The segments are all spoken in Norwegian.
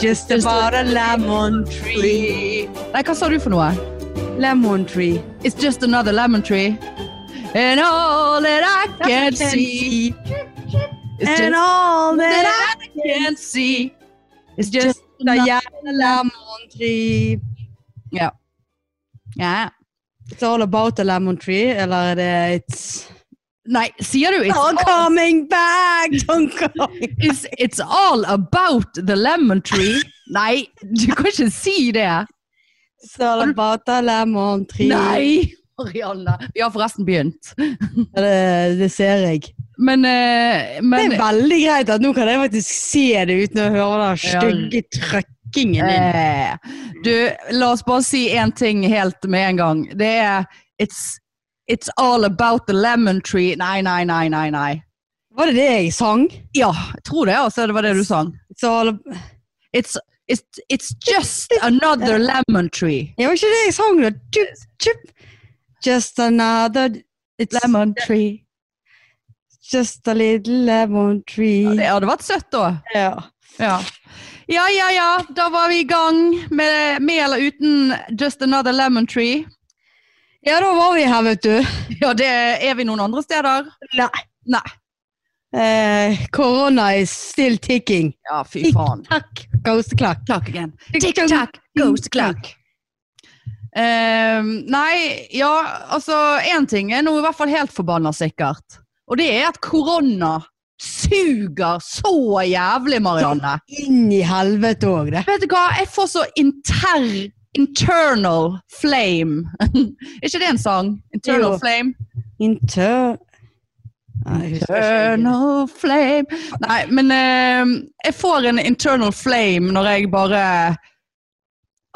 just about a lemon tree. Nei, hva sa du for noe? Lemon tree. It's just another lemon tree. And all that I can see is And just all that that I can see. is just a another- yellow lemon tree. Ja. Ja. It's all about a lemon tree, eller er det It's Nei, sier du it's all all, coming back, don't come. it's, it's all about the lemon tree? Nei, du kan ikke si det. It's all about a lemon tree. Nei, Marianne. Vi har forresten begynt. Det, det ser jeg. Men, eh, Det men er veldig greit at nå kan jeg faktisk se det uten å høre den Ja. stygge trøkkingen din. Eh, du, la oss bare si én ting helt med en gang. Det er it's, it's all about the lemon tree. Nei, nei, nei, nei. nei. Var det det jeg sang? Ja, jeg tror det. altså, Det var det du sang. Så, It's, it's, it's just another lemon tree. det var ikke det jeg sang, da. Tjup, tjup. Just another It's Lemon tree. just a little lemon Ja, tree. det hadde vært søtt, da. Ja. Ja. ja, ja, ja. Da var vi i gang med, med eller uten Just Another Lemon Tree. ja, da var vi her, vet du. Ja, det er vi noen andre steder. Nei. Nei. Eh, Korona is still ticking. Ja, fy faen. Takk, ghost clock. clock again. Tick, Tick tock, tock goes the tick, tock. clock. Ehm, nei, ja, altså Én ting er nå i hvert fall helt forbanna sikkert. Og det er at korona suger så jævlig, Marianne. Inn i helvete òg, det. Vet du hva, jeg får så inter... Internal flame. er ikke det en sang? Internal Jo. flame. Inter... Nei, jeg husker ikke. Internal flame Nei, men eh, jeg får en internal flame når jeg bare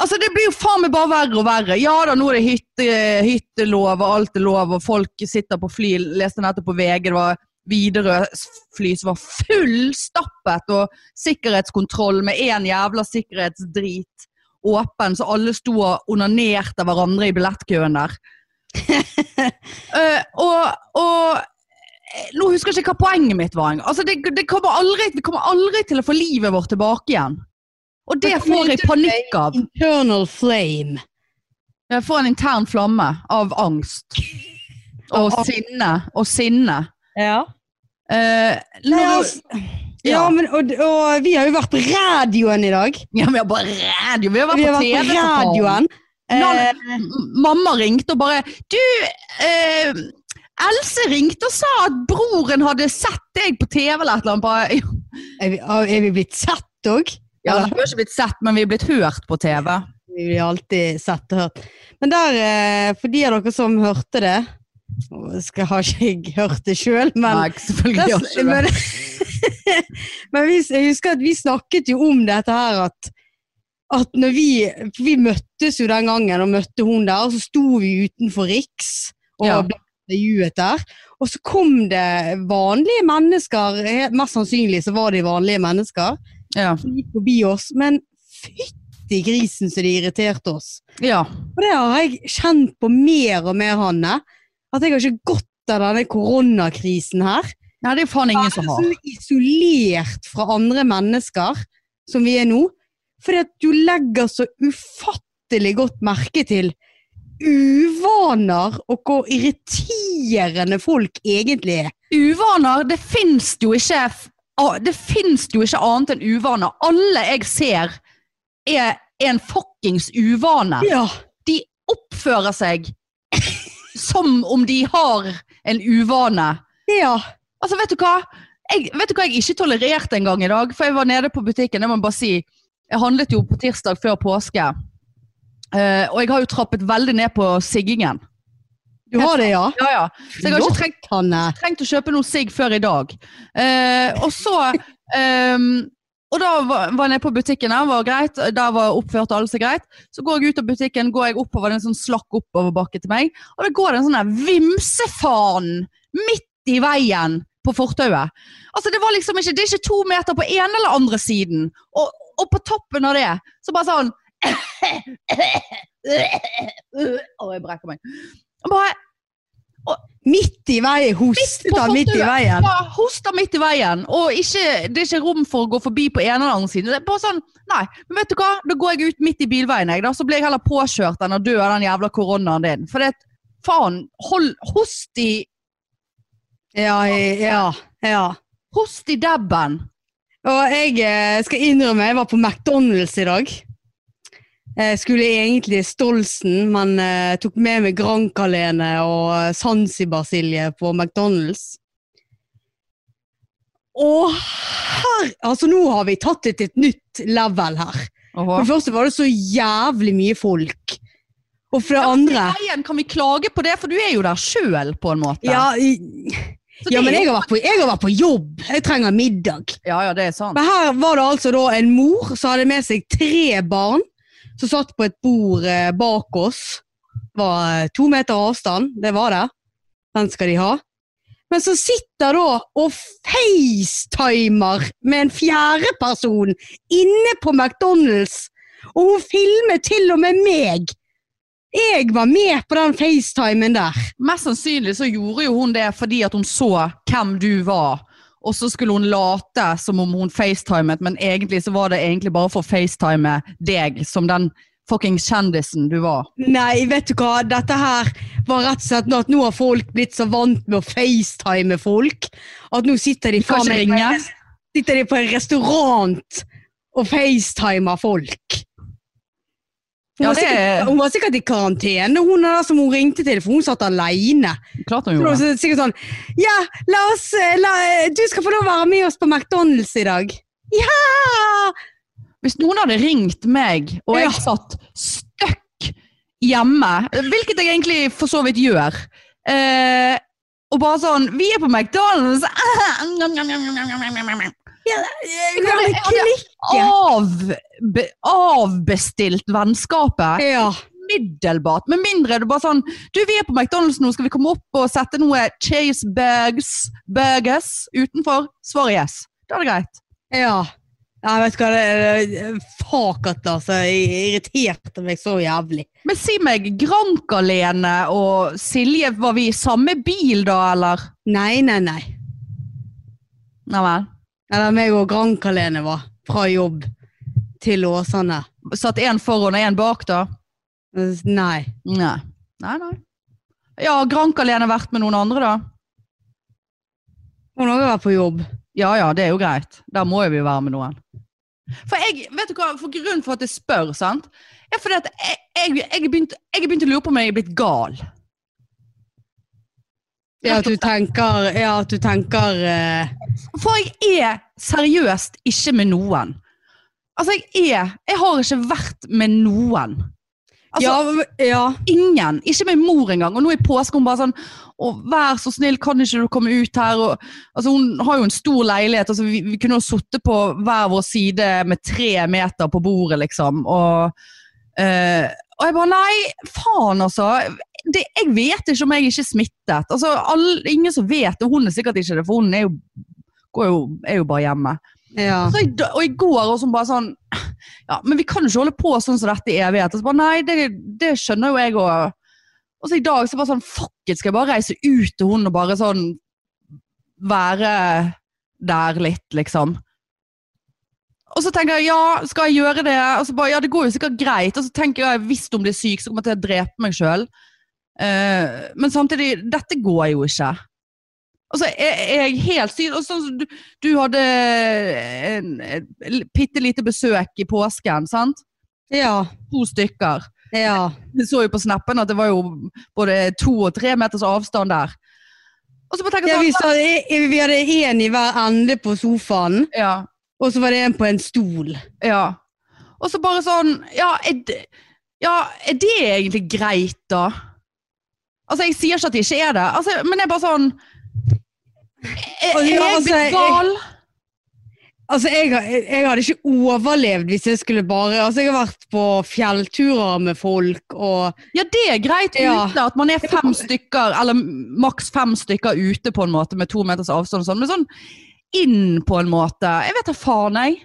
Altså, det blir jo faen meg bare verre og verre. Ja da, nå er det hytte, hyttelov, og alt er lov, og folk sitter på fly. Leste nettopp på VG, det var Widerøe-fly som var fullstappet, og sikkerhetskontroll med én jævla sikkerhetsdrit åpen, så alle sto og onanerte hverandre i billettkøen der. Eh, og, og nå husker jeg ikke hva poenget mitt var engang. Altså, det, det kommer aldri, vi kommer aldri til å få livet vårt tilbake igjen. Og det Men får jeg mente du panikk av. Internal flame. Jeg får en intern flamme av angst. Og Av angst. sinne. Og sinne. Ja. Eh, Nei, når, altså, ja, ja, men og, og vi har jo vært på radioen i dag. ja, vi har bare radio. Vi har vært Vi har på vært TV. på for faen. radioen. Eh, M- Mamma ringte og bare Du, eh, Else ringte og sa at broren hadde sett deg på TV eller et eller annet. Bare, er, vi, er vi blitt sett òg? ja, vi har ikke blitt sett, men vi er blitt hørt på TV. Vi blir alltid sett og hørt. Men der, eh, for de av dere som hørte det nå skal, Har ikke jeg hørt det sjøl, men Nei, selvfølgelig Der- gjør ikke det. men, men vi, jeg husker at vi snakket jo om dette her at, at når vi, for vi møttes jo den gangen og møtte hun der, og så sto vi utenfor Riks og Ja. ble intervjuet der. Og så kom det vanlige mennesker, he- mest sannsynlig så var de vanlige mennesker, Ja. som gikk forbi oss. Men fytti grisen så de irriterte oss. ja. Og det har jeg kjent på mer og mer, Hanne. At jeg har ikke godt av denne koronakrisen her. Nei, det er faen ingen som har. Være så isolert fra andre mennesker som vi er nå. Fordi at du legger så ufattelig godt merke til uvaner og hvor irriterende folk egentlig er. Uvaner, det fins jo ikke f- a- Det finnes jo ikke annet enn uvaner. Alle jeg ser, er en fuckings uvane. Ja. De oppfører seg som om de har en uvane. ja. Altså, vet du hva? Jeg, vet du hva jeg ikke tolererte en gang i dag? For jeg var nede på butikken, det må jeg bare si. Jeg handlet jo på tirsdag før påske. Eh, og jeg har jo trappet veldig ned på siggingen. Du har det, ja? Ja, ja. Så jeg har ikke trengt Hanne. trengt å kjøpe noe sigg før i dag. Eh, og så ehm, Og da var, var jeg nede på butikken, der, var greit. Der var oppførte alle seg greit. Så går jeg ut av butikken, går jeg oppover, det er en sånn slakk oppoverbakke til meg. Og da går det en sånn der vimsefaen midt i veien på fortauet. Altså, det var liksom ikke Det er ikke to meter på ene eller andre siden. Og, og på toppen av det, så bare sånn Å, jeg brekker meg. Og bare Midt i veien hostet han midt i veien. Ja, hoster midt i veien, og ikke, det er ikke rom for å gå forbi på ene eller andre siden. Det er bare sånn, nei, men vet du hva, da går jeg ut midt i bilveien, jeg, da, så blir jeg heller påkjørt enn å dø av den jævla koronaen din. For det, faen, hold, host i, Ja, ja, ja. host i debben. Og jeg eh, skal innrømme, jeg var på McDonald's i dag. Jeg skulle egentlig Stolsen, men eh, tok med meg Grankalene og eh, Zanzibar-silje på McDonald's. Å, herre... Altså, nå har vi tatt det til et nytt level her. For det første var det så jævlig mye folk. Og for det andre Veien, kan vi klage på det, for du er jo der sjøl, på en måte. Ja, i- Så ja det men er- jeg har, vært på, jeg har vært på jobb. Jeg trenger middag. ja, ja, det er sant. Men her var det altså da en mor som hadde med seg tre barn, som satt på et bord eh, bak oss. Det var eh, to meter avstand, det var det. Den skal de ha. Men så sitter da og facetimer med en fjerde person inne på McDonald's, og hun filmer til og med meg. Jeg var med på den facetimen der. Mest sannsynlig så gjorde jo hun det fordi at hun så hvem du var. Og så skulle hun late som om hun facetimet, men egentlig så var det egentlig bare for å facetime deg som den fucking kjendisen du var. Nei, vet du hva? Dette her var rett og slett nå at nå har folk blitt så vant med å facetime folk, at nå sitter de, Kan faen ikke meg- ringe. sitter de på en restaurant og facetimer folk. Hun, Ja, var det er- sikkert, hun var sikkert i karantene, hun der som hun ringte til, for hun satt alene. Klart Så det hun gjorde var det. sikkert sånn Ja, la oss eh, la, Du skal få lov å være med oss på McDonald's i dag. Ja! Hvis noen hadde ringt meg, og jeg Ja. satt støkk hjemme, hvilket jeg egentlig for så vidt gjør, eh, og bare sånn Vi er på McDonald's! Du kan Jeg hadde klikke. Av, be, avbestilt vennskapet. Ja. middelbart. Med mindre er det bare sånn Du, vi er på McDonald's nå, skal vi komme opp og sette noe cheeseburgers burgers utenfor? Svaret er yes. Da er det greit. Ja. Jeg vet du hva, det- det Fuck at det, altså. Jeg irriterte meg så jævlig. Men si meg, Grankalene og Silje, var vi i samme bil da, eller? Nei, nei, nei. Nei vel. Eller meg og Grankalene var fra jobb til Åsane. Satt én foran og én bak, da? Nei. Nei. Nei, nei. Ja, Grankalene vært med noen andre, da? Hun har også vært på jobb. Ja ja, det er jo greit. Da må jo vi være med noen. For jeg, vet du hva, for grunnen for at jeg spør, sant? er fordi at jeg, jeg, jeg, har begynt, jeg har begynt å lure på om jeg er blitt gal. Ja, at du tenker, ja, at du tenker eh, For jeg er seriøst ikke med noen. Altså, jeg er Jeg har ikke vært med noen. Altså, ja, v- ja. ingen. Ikke med mor engang. Og nå i påske hun bare sånn å, vær så snill, kan ikke du komme ut her? Og, altså, hun har jo en stor leilighet. Altså, vi, vi kunne jo sittet på hver vår side med tre meter på bordet, liksom. Og, eh, og jeg bare nei, faen altså. Det, jeg vet ikke om jeg ikke er smittet. Altså, all, ingen som vet det. Hun er sikkert ikke det, for hun er jo, går jo, er jo bare hjemme. ja. Så i, da- og i går også hun bare sånn Ja, men vi kan jo ikke holde på sånn som dette i evighet. Og så bare, nei, det, det skjønner jo jeg òg. Og så i dag så bare sånn Fuck it, skal jeg bare reise ut til hun og bare sånn Være der litt, liksom. Og så tenker jeg ja, skal jeg gjøre det? Og så bare, ja, det går jo sikkert greit. Og så tenker jeg hvis hun blir syk, så kommer jeg til å drepe meg sjøl. men samtidig, dette går jo ikke. Og så er er jeg helt syk. Og sånn som du, du hadde eh, en, en bitte lite besøk i påsken, sant? Ja. To stykker. ja. Vi så jo på snappen at det var jo både to og tre meters avstand der. Og så bare tenker ja vi, jeg sånn sa, vi hadde én i hver ende på sofaen, sånn, ja, og så var det en på en stol. ja. Og så bare sånn ja er, det, ja, er det egentlig greit, da? Altså, jeg sier ikke at det ikke er det, altså, men det er bare sånn Er, er Altså, ja, jeg altså, jeg- blitt gal? Altså, jeg, har- jeg, jeg hadde ikke overlevd hvis jeg skulle bare Altså, jeg har vært på fjellturer med folk og Ja, det er greit Ja. ute, at man er fem stykker, eller maks fem stykker ute på en måte, med to meters avstand og sånn, men sånn inn på en måte, jeg vet da faen jeg.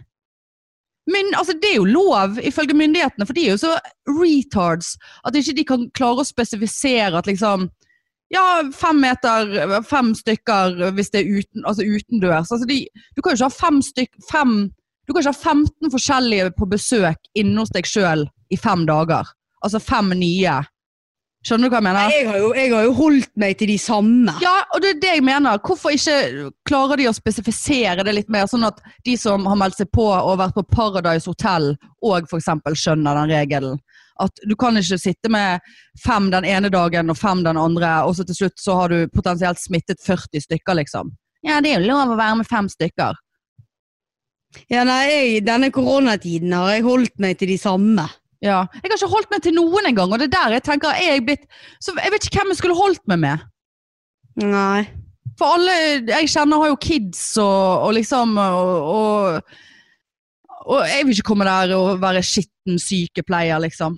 Men altså, det er jo lov, ifølge myndighetene, for de er jo så retards, at ikke de kan klare å spesifisere at liksom, Ja, fem meter, fem stykker hvis det er uten, altså utendørs. Altså de, du kan jo ikke ha fem stykk, fem, du kan ikke ha 15 forskjellige på besøk inne hos deg sjøl i fem dager. Altså fem nye. Skjønner du hva jeg mener? Jeg har, jo, jeg har jo holdt meg til de samme. Ja, og det er det jeg mener. Hvorfor ikke klarer de å spesifisere det litt mer, sånn at de som har meldt seg på og vært på Paradise Hotel og f.eks. skjønner den regelen? At du kan ikke sitte med fem den ene dagen og fem den andre, og så til slutt så har du potensielt smittet 40 stykker, liksom. Ja, det er jo lov å være med fem stykker. Ja, nei, jeg, denne koronatiden har jeg holdt meg til de samme. Ja. Jeg har ikke holdt meg til noen engang, og det er der jeg tenker er jeg blitt Så jeg vet ikke hvem jeg skulle holdt meg med. Nei. For alle jeg kjenner har jo kids og, og liksom og, og, og jeg vil ikke komme der og være skitten sykepleier, liksom.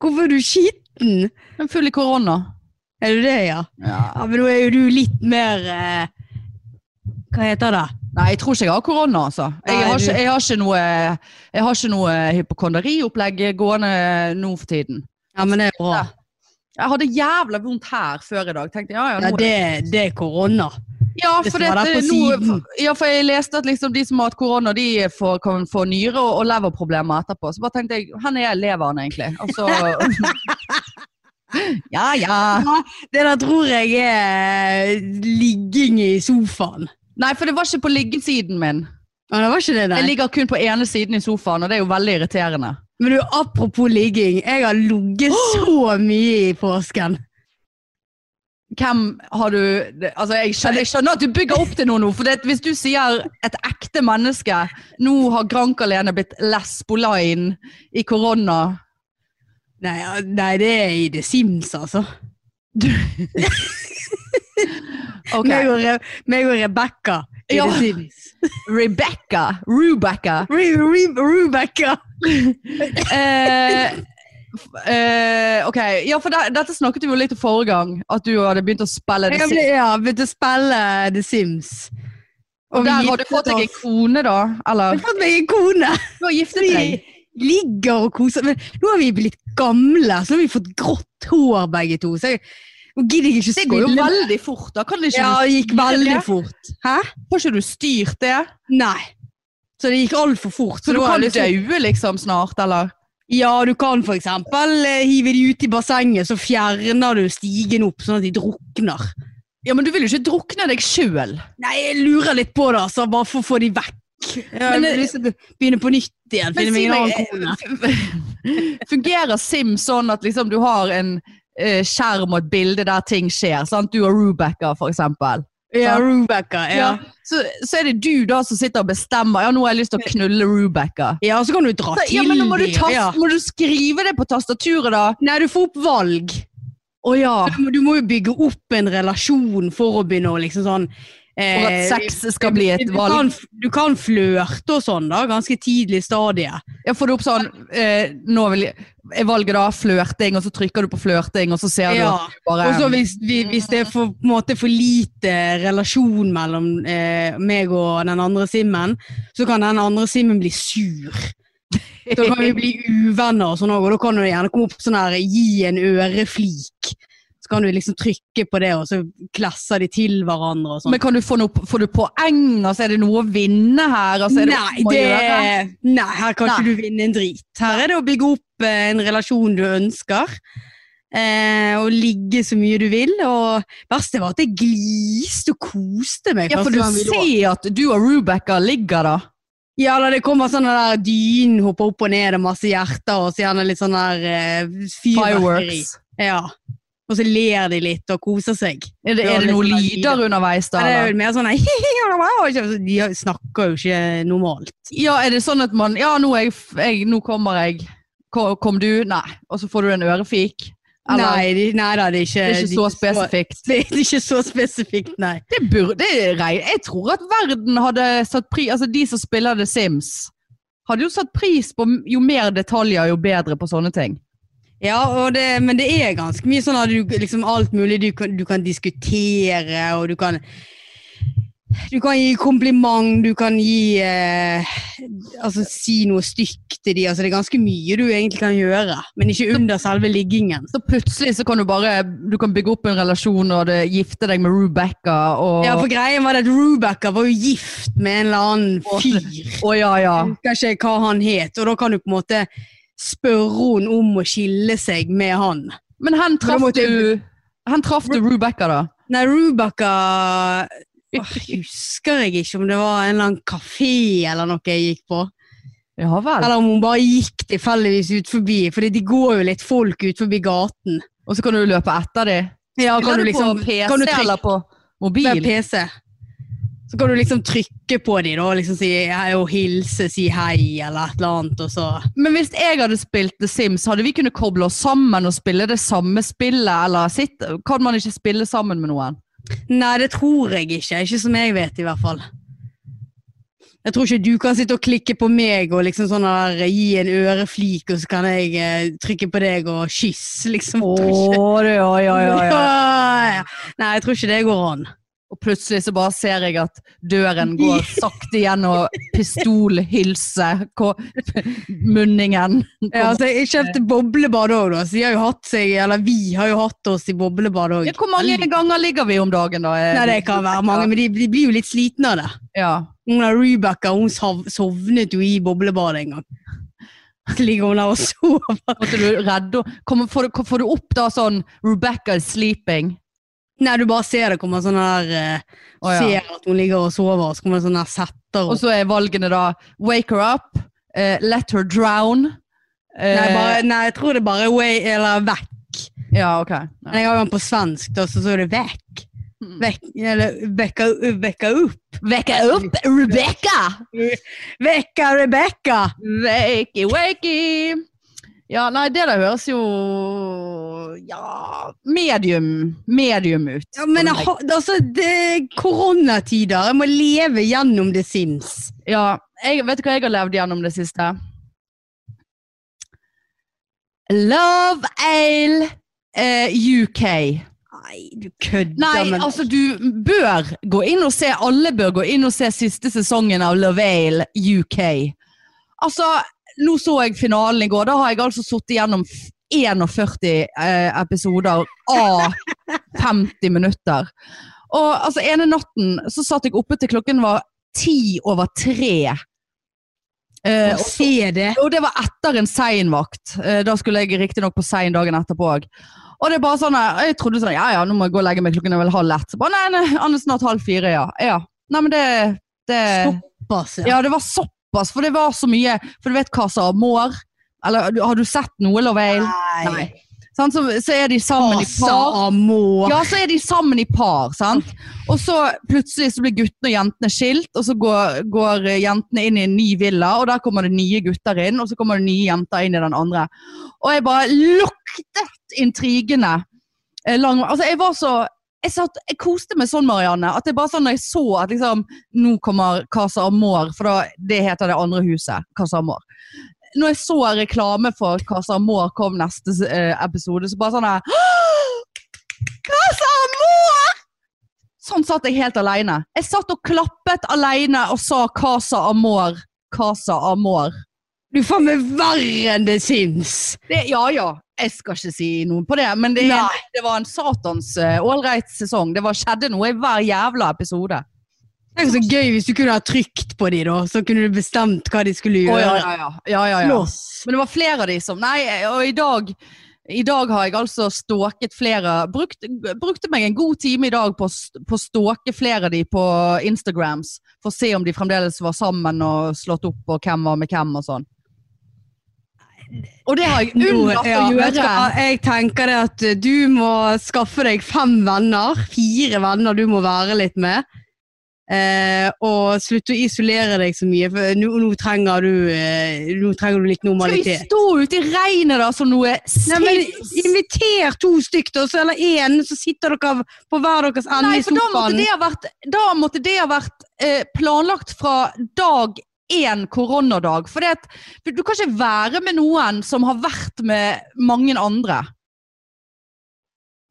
Hvorfor er du skitten? Jeg er full i korona. Er du det, ja? Ja, men nå er jo du litt mer eh, Hva heter det? Nei, jeg tror ikke jeg har korona, altså. Jeg Nei, har, du- ikke, jeg har ikke noe, jeg har ikke noe hypokonderiopplegg gående nå for tiden. Ja, men det er bra. Jeg hadde jævla vondt her før i dag. Tenkte ja, ja, Ja, nå det, det er korona. Ja, Det for, står det, der på nå, siden. ja, for jeg leste at liksom de som har hatt korona, de får, kan få nyre- og, og leverproblemer etterpå. Så bare tenkte jeg, hvor er leveren egentlig? Altså, ja, ja. Det der tror jeg er eh, ligging i sofaen. Nei, for det var ikke på liggesiden min. Men det var ikke det, Jeg nei. ligger kun på ene siden i sofaen, og det er jo veldig irriterende. Men du, apropos ligging. Jeg har ligget så mye i påsken. Hvem har du det- Altså, jeg skjønner, jeg skjønner at du bygger opp til noe nå, for det, at hvis du sier et ekte menneske Nå har Grank-Alene blitt lesboline i korona. Nei, ja, nei, det er i The Sims, altså. Ok. Meg og, Re meg og Rebekka i Ja. The Sims. Rebecca. Rubecca. Re Re Rebecca. Eh, f- eh, ok, ja, for det, Dette snakket vi jo litt om forrige gang, at du hadde begynt å spille. Jeg Det har blitt- ja, begynt å spille The Sims. og der har du fått deg en kone, da? Jeg Eller? har fått meg en kone. Du har giftet Vi deg. ligger og koser Men nå har vi blitt gamle, så nå har vi fått grått hår begge to. Så jeg, nå gidder jeg ikke Det går jo spille. veldig fort. da kan det ikke Ja, det gikk veldig fort. Hæ? Får ikke du styrt det? Nei. Så det gikk altfor fort. Så du nå har kan jeg lyst til- daue liksom snart, eller? Ja, du kan for eksempel eh, hive de ut i bassenget, så fjerner du stigen opp sånn at de drukner. Ja, men du vil jo ikke drukne deg sjøl. Nei, jeg lurer litt på det, altså. Bare for å få de vekk. Jeg har Men, eh, lyst til å begynne på nytt igjen. Finne meg en annen kone. Fungerer Sim sånn at liksom du har en eh, skjerm og et bilde der ting skjer? sant? Du og Rubecca, for eksempel. Ja, sant? Rebecca. Ja. Ja. Så, så er det du da som sitter og bestemmer Ja, nå har jeg lyst til å knulle Rebecca. ja, så kan du dra Så, til ja, men nå må du, de, tas- ja. må du skrive det på tastaturet, da. Nei, du får opp valg. Å ja. Du må- Du må jo bygge opp en relasjon for å begynne å liksom sånn For at eh, sex skal bli et du valg. Kan, du kan flørte og sånn, da. Ganske tidlig stadie. Jeg får det opp sånn eh, Nå vil jeg, er valget da flørting, og så trykker du på flørting, og så ser du Ja. at du bare Og så hvis, vi- hvis det er for, på en måte for lite relasjon mellom eh, meg og den andre simmen, så kan den andre simmen bli sur. Da kan vi bli uvenner og sånn òg, og da kan du gjerne komme opp sånn her gi en øreflik. Så kan du liksom trykke på det, og så klasser de til hverandre og sånn. Men kan du få noe, får du poeng? Altså, er det noe å vinne her? Altså, er det Nei, om å det, gjøre? nei, her kan Nei. ikke du vinne en drit. Her er det å bygge opp eh, en relasjon du ønsker, eh, og ligge så mye du vil. Og verste var at jeg gliste og koste meg. Ja, første for du gang vi lå. ser at du og Rebecca ligger da. Ja, da det kommer sånn der dynen hopper opp og ned, og masse hjerter, og så gjerne litt sånn der eh, fyrverkeri. Fireworks. Ja. Og så ler de litt og koser seg. Er det, Du har er det litt noen sånn lyder underveis Ja, da? det er eller? vel mer sånn her, De snakker jo ikke normalt. Ja, er det sånn at man Ja, nå, er jeg, f- jeg, nå kommer jeg. Ko- Kom du? Nei. Og så får du en ørefik? Eller, Nei, de, nei da, det er ikke, Det er de ikke så spesifikt. Det er ikke så spesifikt, nei. Det burde, det er rei- jeg tror at verden hadde satt pris Altså, de som spiller The Sims, hadde jo satt pris på m- jo mer detaljer, jo bedre på sånne ting. Ja, og det, men det er ganske mye sånn at du liksom alt mulig du kan, du kan diskutere, og du kan Du kan gi kompliment, du kan gi eh, Altså si noe stygt til de. Altså, det er ganske mye du egentlig kan gjøre, men ikke under selve liggingen. Så plutselig så kan du bare du kan bygge opp en relasjon og det, gifte deg med Rebecca. Og, Ja, for greien var det at Rubacker var jo gift med en eller annen fyr. Å, ja, ja. Jeg husker ikke hva han het, og da kan du på en måte spørre hun om å skille seg med han. Men hen traff måtte du, hen traff du Rebecca, da? Nei, Rubacker åh, Husker jeg ikke om det var en eller annen kafé eller noe jeg gikk på. Ja vel. Eller om hun bare gikk tilfeldigvis ut forbi, for de går jo litt folk ut forbi gaten. Og så kan du løpe etter dem? Ja, Kan du liksom på PC kan du trykke- eller på mobil? med PC. Så kan du liksom trykke på dem og liksom si hei og hilse, si hei eller et eller annet. Og så. Men hvis jeg hadde spilt The Sims, hadde vi kunnet koble oss sammen og spille det samme spillet? Eller sitt, kan man ikke spille sammen med noen? Nei, det tror jeg ikke. Ikke som jeg vet, i hvert fall. Jeg tror ikke du kan sitte og klikke på meg og liksom sånn der, gi en øreflik, og så kan jeg eh, trykke på deg og kysse, liksom. Jeg tror ikke- det, ja, ja. Nei, jeg tror ikke det går an. Og plutselig så bare ser jeg at døren går sakte gjennom pistolhylse, ko- munningen. Ja, altså, jeg kjøpte boblebad òg, da. Så de har jo hatt seg, eller vi har jo hatt oss i boblebad òg. Ja, Hvor mange ganger ligger vi om dagen, da? Nei, det kan være mange, men de, de blir jo litt slitne av det. Ja. Hun der Rebecca hun sov, sovnet jo i boblebadet en gang. Så ligger hun der og sover. Måtte du redde Kommer- får, du- får du opp da sånn Rebecca is sleeping? Nei, du bare ser det kommer sånn der eh, Å, ja. Ser at hun ligger og sover, og så kommer det sånn der setter Og og så er valgene da Wake her up, eh, let her drown. eh, nei, bare, nei, jeg tror det bare er way, eller vekk. Ja, ok. Men jeg har jo den på svensk, da, så så er det vekk. Vekk, eller vekka, vekka opp. Mm. Wake up, Rebecca! Vekka Rebekka! Wakey, wakey! Ja, nei, det der høres jo Ja, medium, medium ut. Ja, men jeg, har- altså, det er koronatider. Jeg må leve gjennom The Sims. Ja, jeg, vet du hva jeg har levd gjennom det siste? Love Ale eh, UK. Nei, du kødder. Nei, men- altså du bør gå inn og se, alle bør gå inn og se siste sesongen av Love Ale UK. Altså, nå så jeg finalen i går, da har jeg altså sittet gjennom f- 41 eh, episoder av 50 minutter. Og altså, ene natten så satt jeg oppe til klokken var ti over tre. Eh, Å og se det. jo, det var etter en sein vakt. Eh, Da skulle jeg riktignok på sein dagen etterpå òg. Og det er bare sånn, eh, Jeg trodde sånn, ja ja, nå må jeg gå og legge meg klokken er vel halv ett. Så bare, nei, nei, Anne snart halv fire, ja. ja. Nei, men det, det Såpass, ja. Eh, Ja, det var såpass, for det var så mye. For du vet Casa Amor? Eller du- har du sett noe, Lovail? Nei. Sånn, så, så er de sammen i Asa par. Amor. Ja, så er de sammen i par, sant? Og så plutselig så blir guttene og jentene skilt, og så går, går jentene inn i en ny villa, og der kommer det nye gutter inn, og så kommer det nye jenter inn i den andre. Og jeg bare luktet intrigene. eh, Lang, altså jeg var så jeg, satt, jeg koste meg sånn, Marianne, at det bare sånn når jeg så at liksom, nå kommer Casa Amor, for da, det heter det andre huset, Casa Amor. Når jeg så reklame for Casa Amor kom neste eh, episode, så bare sånn her Casa Amor! Sånn satt jeg helt alene. Jeg satt og klappet alene og sa Casa Amor, Casa Amor. Du er faen meg verre enn The Sims. Det, ja ja, jeg skal ikke si noe på det, men det, Nei. det var en satans ålreit sesong. Det var, skjedde noe i hver jævla episode. Tenk så gøy hvis du kunne ha trykt på de da. Så kunne du bestemt hva de skulle Å, gjøre. ja, ja, ja. Ja, ja, ja. Slåss. Men det var flere av de som Nei, og i dag i dag har jeg altså stalket flere brukt, Brukte meg en god time i dag på å st- på å stalke flere av de på Instagrams. For å se om de fremdeles var sammen og slått opp, og hvem var med hvem og sånn. Og det har jeg unnlatt ja, å vet du gjøre. hva? Jeg tenker det at eh, du må skaffe deg fem venner. Fire venner du må være litt med. Eh, og slutte å isolere deg så mye, for nå, nå, trenger du, eh, nå trenger du litt Skal vi normalitet. stå ute i regnet da som noe Nei, men sinns? Inviter to stykker, og så- eller én, så sitter dere på hver deres ende Nei, i for da måtte sofaen. det ha vært, da måtte det ha vært eh, planlagt fra dag én koronadag. For det at, for du kan ikke være med noen som har vært med mange andre.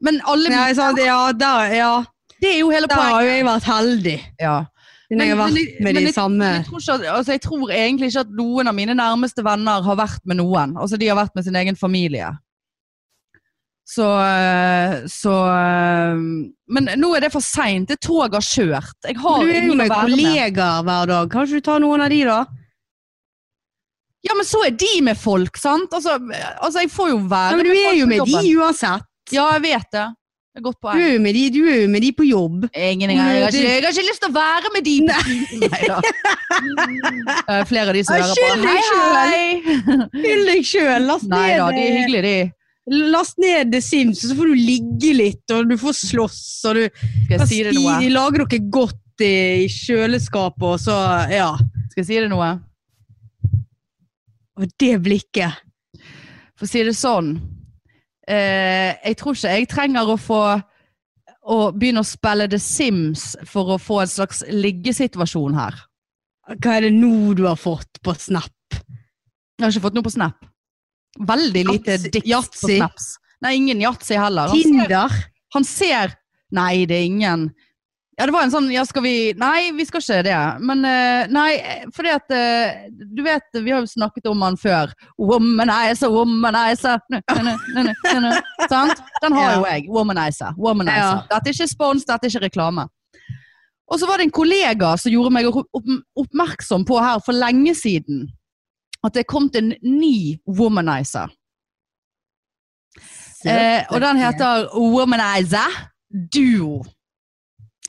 Men alle Nei, sant, ja, der, ja. Det er jo hele Der har poenget. jo jeg vært heldig. Ja. Siden jeg har vært med de jeg, samme. jeg, tror ikke at, altså, jeg tror egentlig ikke at noen av mine nærmeste venner har vært med noen. Altså, de har vært med sin egen familie. Så, øh, så øh, Men nå er det for seint. Det toget har kjørt. Jeg har Men Du er jo ingen med å være med. kollegaer hver dag. Kan ikke du ta noen av de, da? Ja, men så er de med folk, sant? Altså, altså jeg får jo Nei, være men du er folk jo på med jobben. de uansett. Ja, jeg vet det. Det er et godt Du poeng. er jo med de, du er jo med de på jobb. Ingen engang. Jeg, har ikke- jeg har ikke lyst til å være med de på Neida. Eh, Flere av de som Jeg hører skylder på. Hei, deg hei! Fyll deg sjøl! Last Nei da, ned de er eh, hyggelige, de. Last ned The Sims, og så får du ligge litt, og du får slåss, og du Skal jeg si det noe? Sti- lager dere godt i i kjøleskapet, og så Ja. Skal jeg si det noe? Og det blikket. For å si det sånn eh, Jeg tror ikke jeg trenger å få å begynne å spille The Sims for å få en slags liggesituasjon her. Hva er det nå du har fått på Snap? Jeg har ikke fått noe på Snap. Veldig lite Yatzy- dicks på Yatzy? Snaps. Nei, ingen yatzy heller. altså. Han ser, Tinder? han ser Nei, det er ingen Ja, det var en sånn Ja, skal vi Nei, vi skal ikke det. Men eh, Nei, fordi at eh, Du vet, vi har jo snakket om han før. Womanizer, womanizer Nø, nø, nø, nø, nø, nø. Sant? Den har jo jeg. Womanizer. womanizer. Dette er ikke spons, dette er ikke reklame. Og så var det en kollega som gjorde meg opp- opp- oppmerksom på her for lenge siden at det er kommet en ny womanizer. Eh, og den heter Womanizer Duo.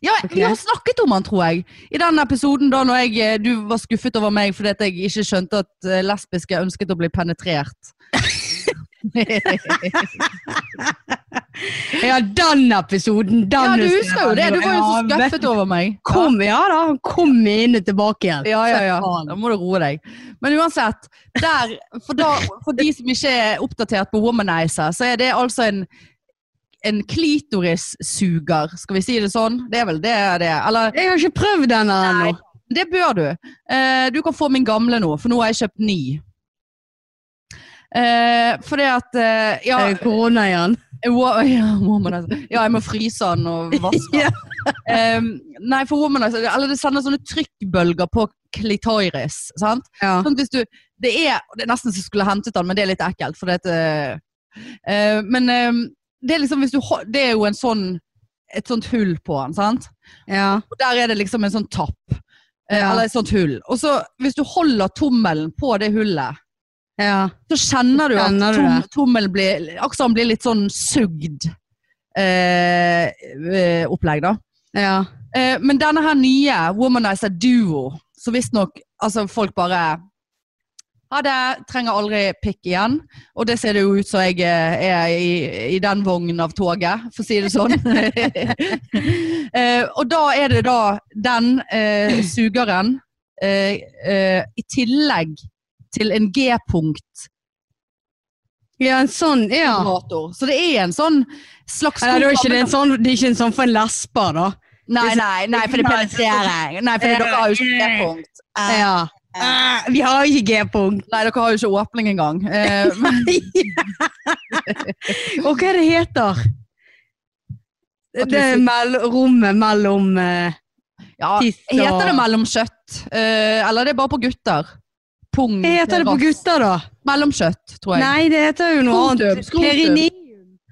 Ja, Ok. Vi har snakket om han, tror jeg. I den episoden da når jeg, eh, du var skuffet over meg fordi at jeg ikke skjønte at eh, lesbiske ønsket å bli penetrert. Ja, den episoden! Den ja, du husker jo det. Du var jo så Ja, vet skuffet over meg. Ja. Kom, ja da, han kom inn og tilbake igjen. Ja, ja, ja. Faen. Da må du roe deg. Men uansett, der, for, da, for de som ikke er oppdatert på Womanizer, så er det altså en, en klitorissuger, skal vi si det sånn? Det er vel det det er. Eller Jeg har ikke prøvd den her ennå. Nei, det bør du. Eh, du kan få min gamle nå, for nå har jeg kjøpt ny. Eh, fordi at eh, ja, Eh, Korona igjen. wo- ja, womanizer. ja, jeg må fryse den og vaske den. Ja. Em, nei, for womanizer Eller det sender sånne trykkbølger på klitoris. sant? Ja. Sånn at hvis du, det, er, det er nesten så jeg skulle hentet den, men det er litt ekkelt. For det, uh, men em, det er liksom hvis du hol- Det er jo en sånn, et sånt hull på den, sant? ja. Og der er det liksom en sånn tapp. eh, Ja. Eller et sånt hull. Og så hvis du holder tommelen på det hullet, ja. så kjenner du at Kjenner du tom, det? tommelen blir Aksen blir litt sånn sugd eh, eh, opplegg, da. ja. Eh, men denne her nye Womanizer Duo, så visstnok altså folk bare ha det, trenger aldri pikk igjen. Og det ser det jo ut som jeg eh, er i, i den vognen av toget, for å si det sånn. eh, og da er det da den eh, sugeren eh, eh, i tillegg til en G-punkt-generator. Ja, en sånn, ja. Så det er en sånn slags Eller, det, er ikke det, en sånn, det er ikke en sånn for en lesber, da. Nei, nei, nei, for det Nei, penetrerer. Nei, for dere har jo ikke G-punkt. Eh, Ja. Eh, Vi har ikke G-punkt. Nei, dere har jo ikke åpning engang. Eh, Og hva er det heter? At du Det er mell rommet mellom eh, ja, Tiss og- heter det mellomkjøtt? Eh, eller det er bare på gutter? Pung Hva heter det på rass. gutter, da? Mellomkjøtt, tror jeg. Nei, det heter jo noe Skrotum, annet. skrotum. Perineum.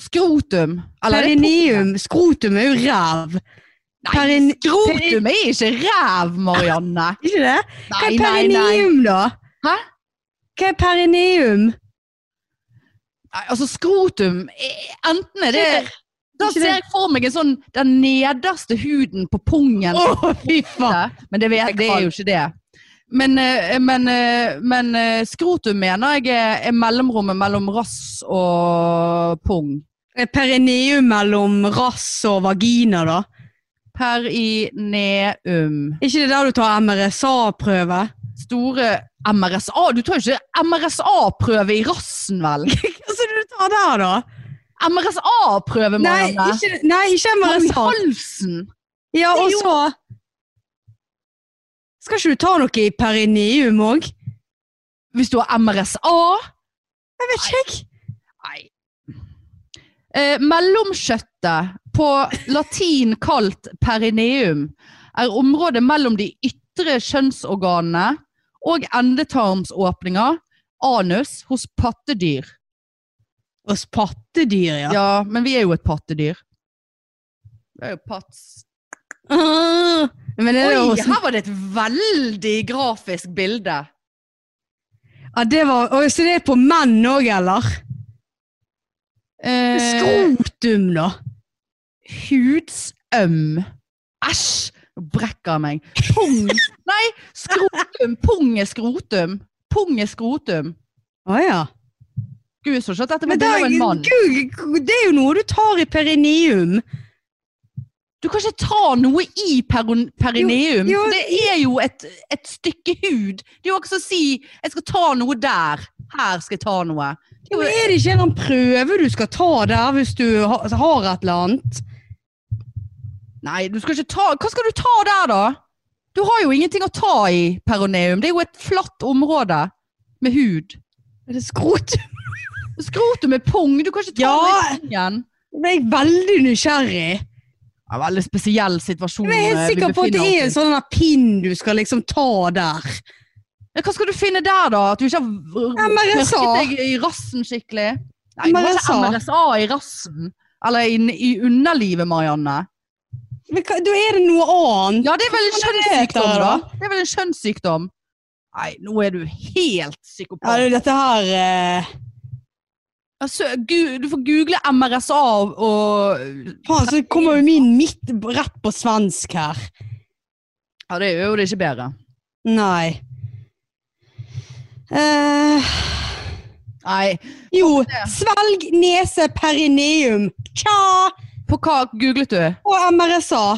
Skrotum. Eller er det Perineum. Skrotum er jo ræv. Nei, Perin- Skrotum er ikke ræv, Marianne! Ikke det? Hva er Nei, nei, nei. perineum, da? Hæ? Hva er perineum? Nei, Altså, skrotum eh, Enten er det Da Ikke det. ser jeg for meg en sånn den nederste huden på pungen. Å, fy faen! Ja, Men det, vet, det er jo ikke det. Men, eh, men, eh, men eh, skrotum mener jeg er, er mellomrommet mellom rass og pung. Perineum mellom rass og vagina, da? Perineum. Er ikke det der du tar MRSA-prøve? Store MRSA. Du tar jo ikke MRSA-prøve i rassen, vel? Hva skal du ta der, da? MRSA-prøve, Nei, Marianne. ikke, nei, ikke Tar du i MRSA. halsen. Ja, Det er og jo- så Skal ikke du ta noe i perineum òg? Hvis du har MRSA. Jeg vet ikke, jeg. Nei. Eh, mellomkjøttet, på latin kalt perineum, er området mellom de ytre kjønnsorganene og endetarmsåpninger, anus, hos pattedyr. Hos pattedyr, Ja. ja. men vi er jo et pattedyr. Det er jo pats. Ah, men det, er jo Oi, hos, her var det sånn- et veldig grafisk bilde. ja, det var Oi, Så det er på menn òg, eller? Eh, Skrotum, da. Hudsøm. Æsj! Nå brekker jeg meg. Pung. Nei, skrotum. Pung er skrotum. Pung er skrotum. Å ja. Gud, så ikke at dette var Men da, bilde av en mann. Gud, det er jo noe du tar i perineum. Du kan ikke ta noe i peron- perineum. Jo, jo, for det er jo et, et stykke hud. Det er jo ikke som å si 'jeg skal ta noe der'. Her skal jeg ta noe. Det er Men jo- er det ikke en eller annen prøve du skal ta der, hvis du ha, har et eller annet? Nei, du skal ikke ta Hva skal du ta der, da? Du har jo ingenting å ta i perineum. Det er jo et flatt område med hud. Er det skrotum? Skrotum er pung. Du kan ikke ta Ja. noe i pungen. Nå ble jeg veldig nysgjerrig. Ja, veldig spesiell situasjon. Men jeg er eh, helt vi sikker på at det befinner er en oss i. sånn der pinn du skal liksom ta der. Ja, Hva skal du finne der, da? At du ikke har MRSA. tørket deg i rassen skikkelig? Nei, du har ikke MRSA. MRSA i rassen. Eller i, i underlivet, Marianne. Men hva, da er det noe annet. Ja, det er vel en Hva er det det heter, kjønnssykdom, da. da? Det er vel en kjønnssykdom. Nei, nå er du helt Ja, psykopat. det er dette her eh, Altså, gu- du får google MRSA og, og Faen, så kommer jo min midt rett på svensk her. Ja, det gjør jo det ikke bedre. Nei. Eh, Nei. jo, svelg, nese, perineum. Tja! På hva googlet du? Og MRSA.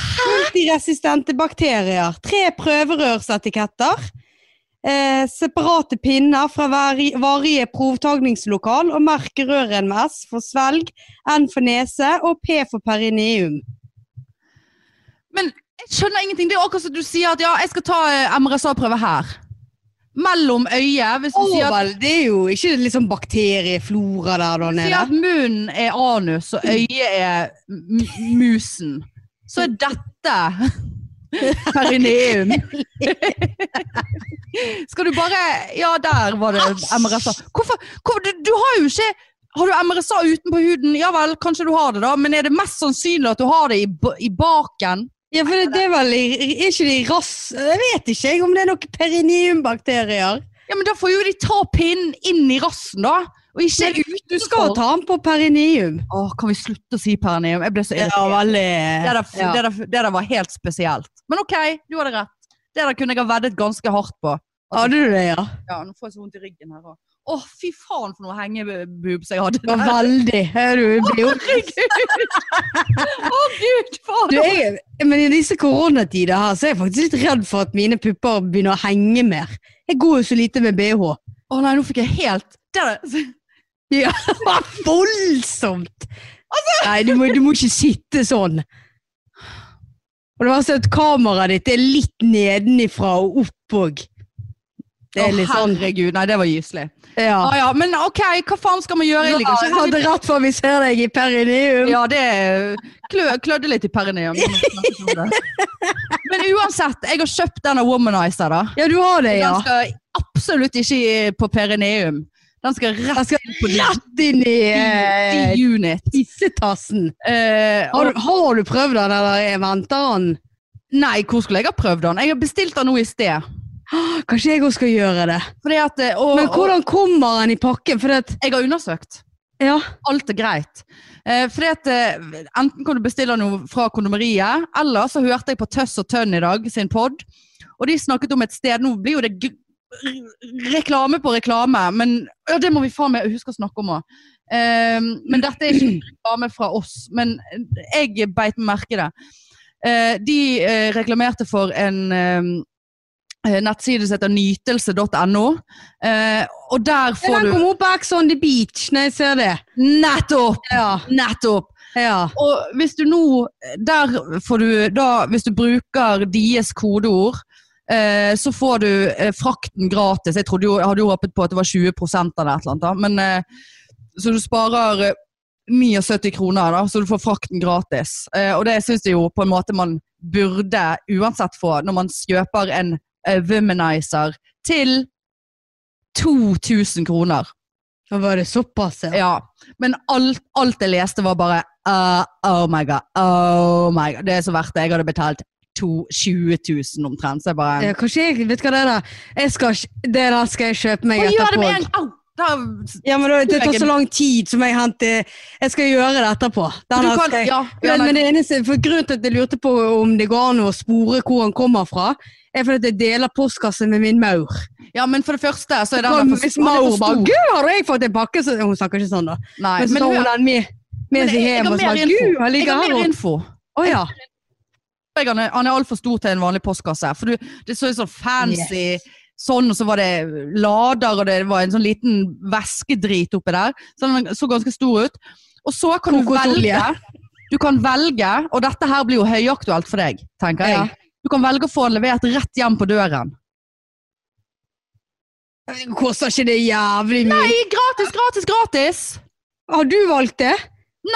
Multiresistente bakterier. Tre prøverørsetiketter. Eh, separate pinner fra hver- varige provtagningslokal og merk røren med S for svelg, N for nese og P for perineum. Men jeg skjønner ingenting. Det er jo akkurat som du sier at ja, jeg skal ta eh, MRSA-prøve her. Mellom øyet. Hvis du Å sier at, vel, det er jo ikke liksom bakterieflora der da sier nede. at munnen er anus og øyet er m- musen, så er dette perineum. skal du bare Ja, der var det MRSA. Hvorfor? hvor, du, du har jo ikke har du MRSA utenpå huden? Ja vel, kanskje du har det, da. Men er det mest sannsynlig at du har det i, ba- i baken? Ja, for det, det er vel i, er ikke det i rass... Jeg vet ikke jeg om det er noen periniumbakterier. Ja, men da får jo de ta pinnen inn i rassen, da. Og ikke Men ut. Du skal ta den på perineum. Åh, kan vi slutte å si perineum? Jeg ble så irritert. Ja, veldig det, der, ja. det, der, det der var helt spesielt. Men OK, du hadde rett. Det der kunne jeg ha veddet ganske hardt på. Hadde du det, ja? Ja, nå får jeg så vondt i ryggen her òg. Å, fy faen for noe hengebubs jeg hadde. Det var veldig. Hør du, jeg blir jo Å, gud du, fader! jeg, Men i disse koronatider her, så er jeg faktisk litt redd for at mine pupper begynner å henge mer. Jeg går jo så lite med bh. Å nei, nå fikk jeg helt det der. Hva voldsomt! Altså! Nei, du må, du må ikke sitte sånn. Og det var sånn at kameraet ditt er litt nedenifra og opp òg. Det Å, er litt sånn, Herregud, nei, det var gyselig. ja. Ah, ja, men OK, hva faen skal man gjøre? Jeg ligger Jeg ikke hadde rett før vi ser deg i perineum. Ja, det klø, klødde litt i perineum. Men uansett, jeg har kjøpt denne Womanizer. da. Ja, du har det, ja. Den skal absolutt ikke på perineum. Den skal Jeg rett skal rett inn i eh, i unit. tissetassen. Eh, Har du, har du prøvd den, eller er- venter han? og- nei, hvor skulle jeg ha prøvd den? Jeg har bestilt den nå i sted. Åh, Kanskje jeg òg skal gjøre det. Fordi at, eh, og, Men hvordan kommer han i pakken? For det, at- og, jeg har undersøkt. ja. Alt er greit. Eh, fordi at eh, Enten kan du bestille noe fra kondomeriet, eller så hørte jeg på Tøss og Tønn i dag sin pod, og de snakket om et sted Nå blir jo det gr- r- reklame på reklame, men ja, det må vi faen meg huske å snakke om òg. men dette er ikke reklame fra oss, men eh, jeg beit meg merke i det. Eh, de eh, reklamerte for en eh, nettside som heter nytelse.no, eh, og der Ja, får Den du kom opp på Ex on the beach når jeg ser det. Nettopp! Ja, Nettopp! ja. Og hvis du nå Der får du da Hvis du bruker deres kodeord, eh, så får du eh, frakten gratis. Jeg trodde jo, jeg hadde jo håpet på at det var 20 eller et eller annet, da. Men eh, så du sparer eh, 79 kroner, da, så du får frakten gratis. Eh, og det syns jeg jo på en måte man burde uansett få når man kjøper en eh, womanizer til 2000 kroner. Da var det såpass, ja. Ja, men alt, alt jeg leste var bare uh, Oh my god, oh my god. Det er så verdt det. Jeg hadde betalt to, 20 000 omtrent. Så jeg bare Ja, Kanskje jeg Vet du hva det er, da? Jeg skal, ikke- det der skal jeg kjøpe meg Å, gjør det etterpå. med en gang! Da- Ja, men da- Det tar så lang tid som jeg henter Jeg skal gjøre det etterpå. Den Du her kan, skal jeg- ja, ja, Men, nei, men det eneste, for grunnen til at jeg lurte på om det går an å spore hvor han kommer fra, er fordi at jeg deler postkasse med min maur. ja, men for det første så er den Og der for, Hvis den er maur for bare stor. 'Gud, har jeg fått en pakke?' Så, hun snakker ikke sånn, da. Nei, Men så men tar hun hør, den med, men med jeg, seg jeg hjem har og mer sier 'Gud, info. han Jeg ligger har her'. mer og- info. Å ja. Jeg, han er, han er altfor stor til en vanlig postkasse. For du, det så jo sånn fancy sånn, og så var det lader, og det var en sånn liten væskedrit oppi der. Så den så ganske stor ut. Og så kan du Kokosolje. velge. Du kan velge, og dette her blir jo høyaktuelt for deg, tenker Ja. jeg. Du kan velge å få den levert rett hjem på døren. Koster ikke det jævlig mye? Nei, gratis, gratis, gratis! Har du valgt det?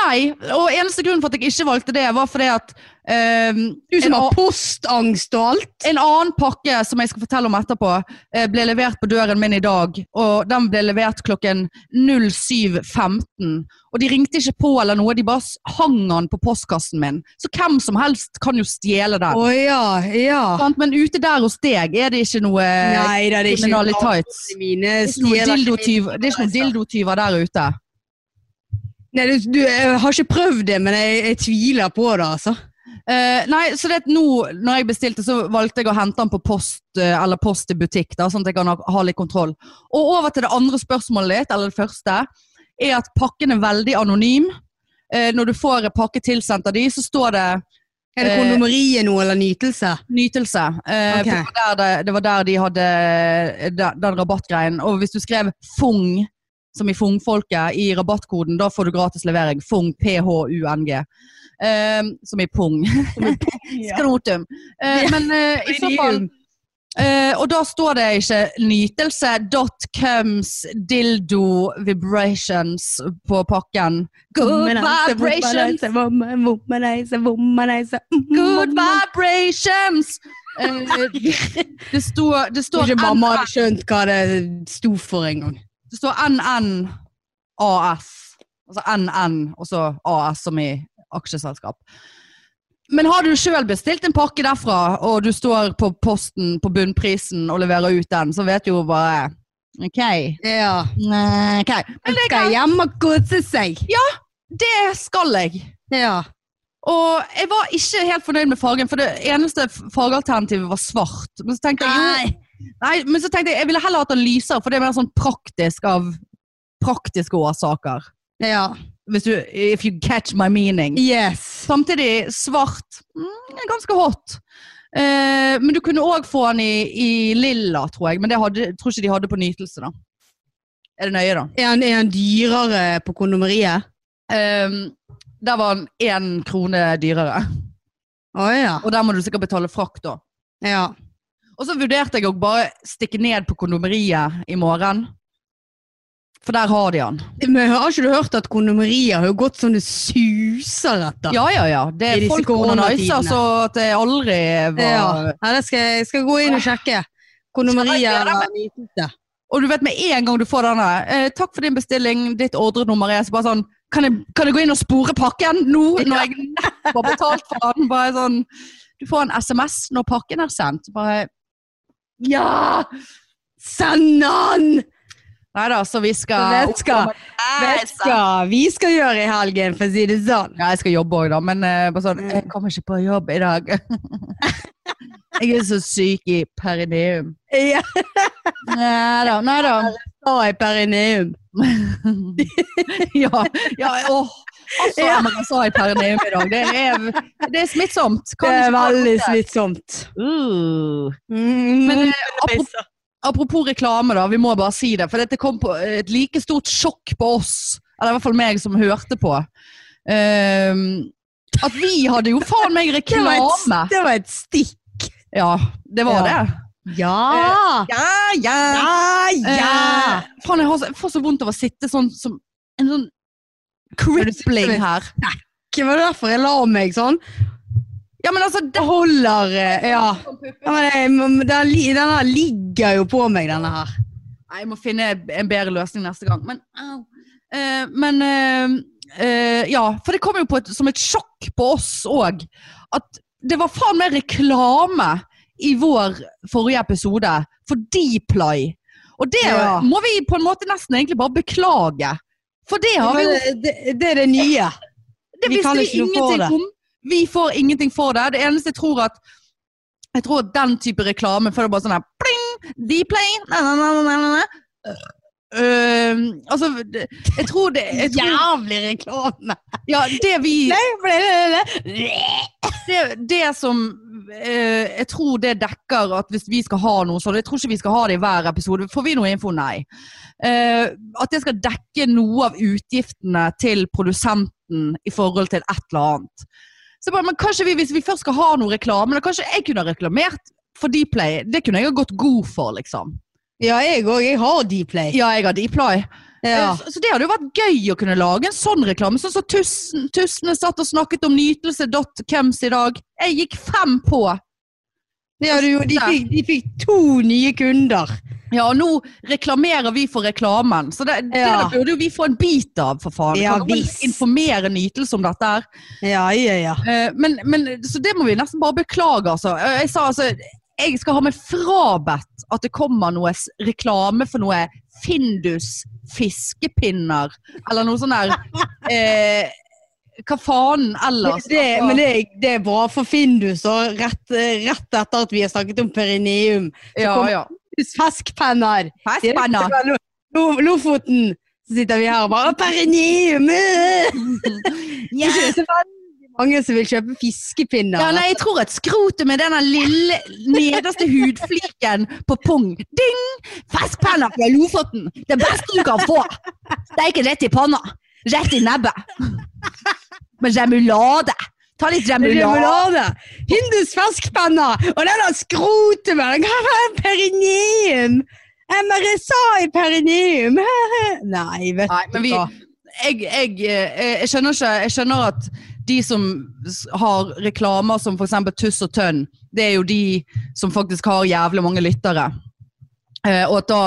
Nei, og eneste grunnen for at jeg ikke valgte det, var fordi at ehm, Du som en, har a- postangst og alt? en annen pakke som jeg skal fortelle om etterpå, eh, ble levert på døren min i dag. Og den ble levert klokken 07.15. Og de ringte ikke på eller noe, de bare s- hang den på postkassen min. Så hvem som helst kan jo Å stjele den. ja, ja. Sant? Men ute der hos deg er det ikke noe Nei da, det er ikke kriminale tights. mine Det er ikke noen stjeler ikke altså. dildotyv- det er ikke noen dildotyver der ute. Nei, du, du, jeg har ikke prøvd det, men jeg, jeg tviler på det, altså. Eh, nei, så det at nå, når jeg bestilte, så valgte jeg å hente den på post, eh, eller post i butikk, da, sånn at jeg kan ha, ha litt kontroll. Og over til det andre spørsmålet ditt, eller det første, er at pakken er veldig anonym. Eh, når du får en pakke tilsendt av de, så står det Er det Eh, kondomeriet nå, eller nytelse? nytelse. Eh, Ok. for det, var der det, det var der de hadde eh, den, den rabattgreien. Og hvis du skrev FUNG, som i FUNG-folket, i rabattkoden, da får du gratis levering. FUNG, P-H-U-N-G. Eh, som i pung. Skrotum. Eh, Ja. men eh, i så fall Iridium. eh, Og da står det ikke nytelse dot comes dildo vibrations på pakken. Good Womanizer, vibrations! womanizer, woman- Womanizer, womanizer mm, Good woman- vibrations! Eh, det står, det Jeg tror står ikke mamma hadde skjønt hva det sto for engang. Det står NNAS. Altså NN, og så AS som i aksjeselskap. Men har du sjøl bestilt en pakke derfra, og du står på posten på bunnprisen og leverer ut den, så vet du jo bare OK. Ja. Nei, ok. Men det, Skal kan, hjem og kose seg. det skal jeg. Ja. Og jeg var ikke helt fornøyd med fargen, for det eneste fargealternativet var svart. Men så tenkte jeg, jo, Nei, men så tenkte jeg jeg ville heller hatt den lysere, for det er mer sånn praktisk av praktiske årsaker. Ja. Hvis du, if you catch my meaning. Yes. Samtidig svart mm, er ganske hot. Eh, men du kunne òg få den i, i lilla, tror jeg. Men det hadde, tror ikke de hadde på nytelse, da. Er det nøye, da? Er han, er han dyrere på kondomeriet? Eh, der var den én krone dyrere. Å ja. Og der må du sikkert betale frakt, da. ja. Og så vurderte jeg å bare stikke ned på kondomeriet i morgen. For der har de den. Men har ikke du hørt at kondomerier har jo gått sånn det suser etter? Ja, ja, ja. Det I er disse folk onaniser, koronatidene. så at det aldri var Ja. Ja, det skal jeg jeg skal gå inn og sjekke. Kondomeriet Skal jeg gjøre eller nytelse. Og du vet med en gang du får denne eh, 'Takk for din bestilling, ditt ordrenummer er så bare sånn kan jeg, kan jeg gå inn og spore pakken nå, når jeg nettopp har betalt for den? Bare sånn, du får en SMS når pakken er sendt. Bare, Ja! Send han! nei da, så vi skal Vet skal- Vet skal, vi skal gjøre i helgen, for å si det sånn. Ja, jeg skal jobbe òg, da, men eh, bare sånn Mm. Jeg kommer ikke på jobb i dag. jeg er så syk i perineum. Ja, Nei da, nei da. da er perineum. ja, ja, åh. Altså, Ja. men jeg sa i perineum i dag. Det er, det er smittsomt. Kan Det er ikke være veldig Mm. godt, det. slitsomt. Uh. Men Men, eh, apropos, apropos reklame, da. Vi må bare si det. For dette kom på et like stort sjokk på oss, eller i hvert fall meg som hørte på. Ehm, at vi hadde jo faen meg det, var reklame! et, det var et stikk. Ja, det var Ja. det. Ja! Ja, ja! Ja, ja! eh, Eh, faen, jeg, har så, jeg får så vondt av å sitte sånn som en sånn crippling her. Det var derfor jeg la meg sånn. Ja, men altså, Det holder eh, Ja. ja men jeg, men den, li- denne ligger jo på meg, denne her. Nei, jeg må finne en bedre løsning neste gang. Men, au. Eh, men eh, eh, Ja, for det kom jo på et, som et sjokk på oss òg. At det var faen meg reklame i vår forrige episode for Dply. Og det Ja. må vi på en måte nesten egentlig bare beklage. For det har vi jo det, det, det er det nye. det Vi kan visste vi ikke noe for ingenting det. om. Vi får ingenting for det. Det eneste jeg tror at jeg tror at den type reklame føler bare sånn her pling, Dplay na, na, na, na, na, na. Øh, altså, det- jeg tror det jeg tror, Jævlig reklame! Ja, det vi Nei, ble det det? det, det som eh, Jeg tror det dekker at hvis vi skal ha noe sånt Jeg tror ikke vi skal ha det i hver episode. Får vi noe info? Nei. Eh, at det skal dekke noe av utgiftene til produsenten i forhold til et eller annet. Så jeg bare, men kanskje vi, Hvis vi først skal ha noe reklame, da kanskje jeg kunne ha reklamert for Dplay. Det kunne jeg ha gått god for, liksom. Ja, jeg òg. Jeg har Dplay. Ja, jeg har Dplay. Ja. Eh, Så så det hadde jo vært gøy å kunne lage en sånn reklame. Sånn som Tussen, Tussene satt og snakket om nytelse.cums i dag. Jeg gikk fem på. Ja, du, de, fikk, de fikk to nye kunder. Ja, og nå reklamerer vi for reklamen, så det, Ja. det burde jo vi få en bit av, for faen. Ja, kan noen visst. informere Nytelse om dette her. Ja, ja, ja. Eh, men, men, så det må vi nesten bare beklage, altså. Eh, Jeg sa altså jeg skal ha meg frabedt at det kommer noe s- reklame for noe Findus fiskepinner, eller noe sånn der eh, Hva faen ellers? Det, Altså, men det, er- det er bra for Findus, og rett, rett etter at vi har snakket om perineum. ja, kommer- ja. Feskpenner! Ah, Det er Spennende. fra Lo- Lo- Lofoten! Så sitter vi her og bare «Å, Perineum! øh!» Det er ikke så veldig mange som vil kjøpe fiskepinner. Ja, nei, jeg tror at skrotet med denne lille nederste hudfliken på pung Ding! Feskpenner fra Lofoten! Det beste du kan få! Steike rett i panna. Rett i nebbet. Med remulade. Ta litt remulade. Remulade! Hindus ferskpenner! Og den har skrotet med den! Hva er perineum? MRSA i perineum! Nei, vet Nei, men du vi- hva. Jeg, jeg, eh, jeg skjønner ikke Jeg skjønner at de som s- har reklamer som f.eks. Tuss og Tønn, det er jo de som faktisk har jævlig mange lyttere. Eh, og at da,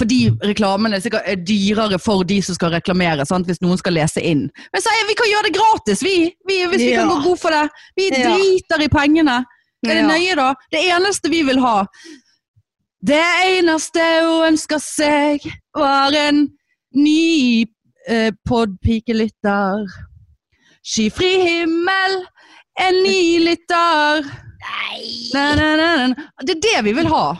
fordi reklamene sikkert er dyrere for de som skal reklamere, sant? hvis noen skal lese inn. Men så, eh, vi kan gjøre det gratis, vi! vi hvis vi kan Ja. gå god for det. Vi Ja. driter i pengene. Er det Ja. nøye, da? Det eneste vi vil ha Det eneste hun ønska seg, var en ny eh, podpikelytter. Skyfri himmel, en ny lytter. Nei! Na, na, na, na. Det er det vi vil ha.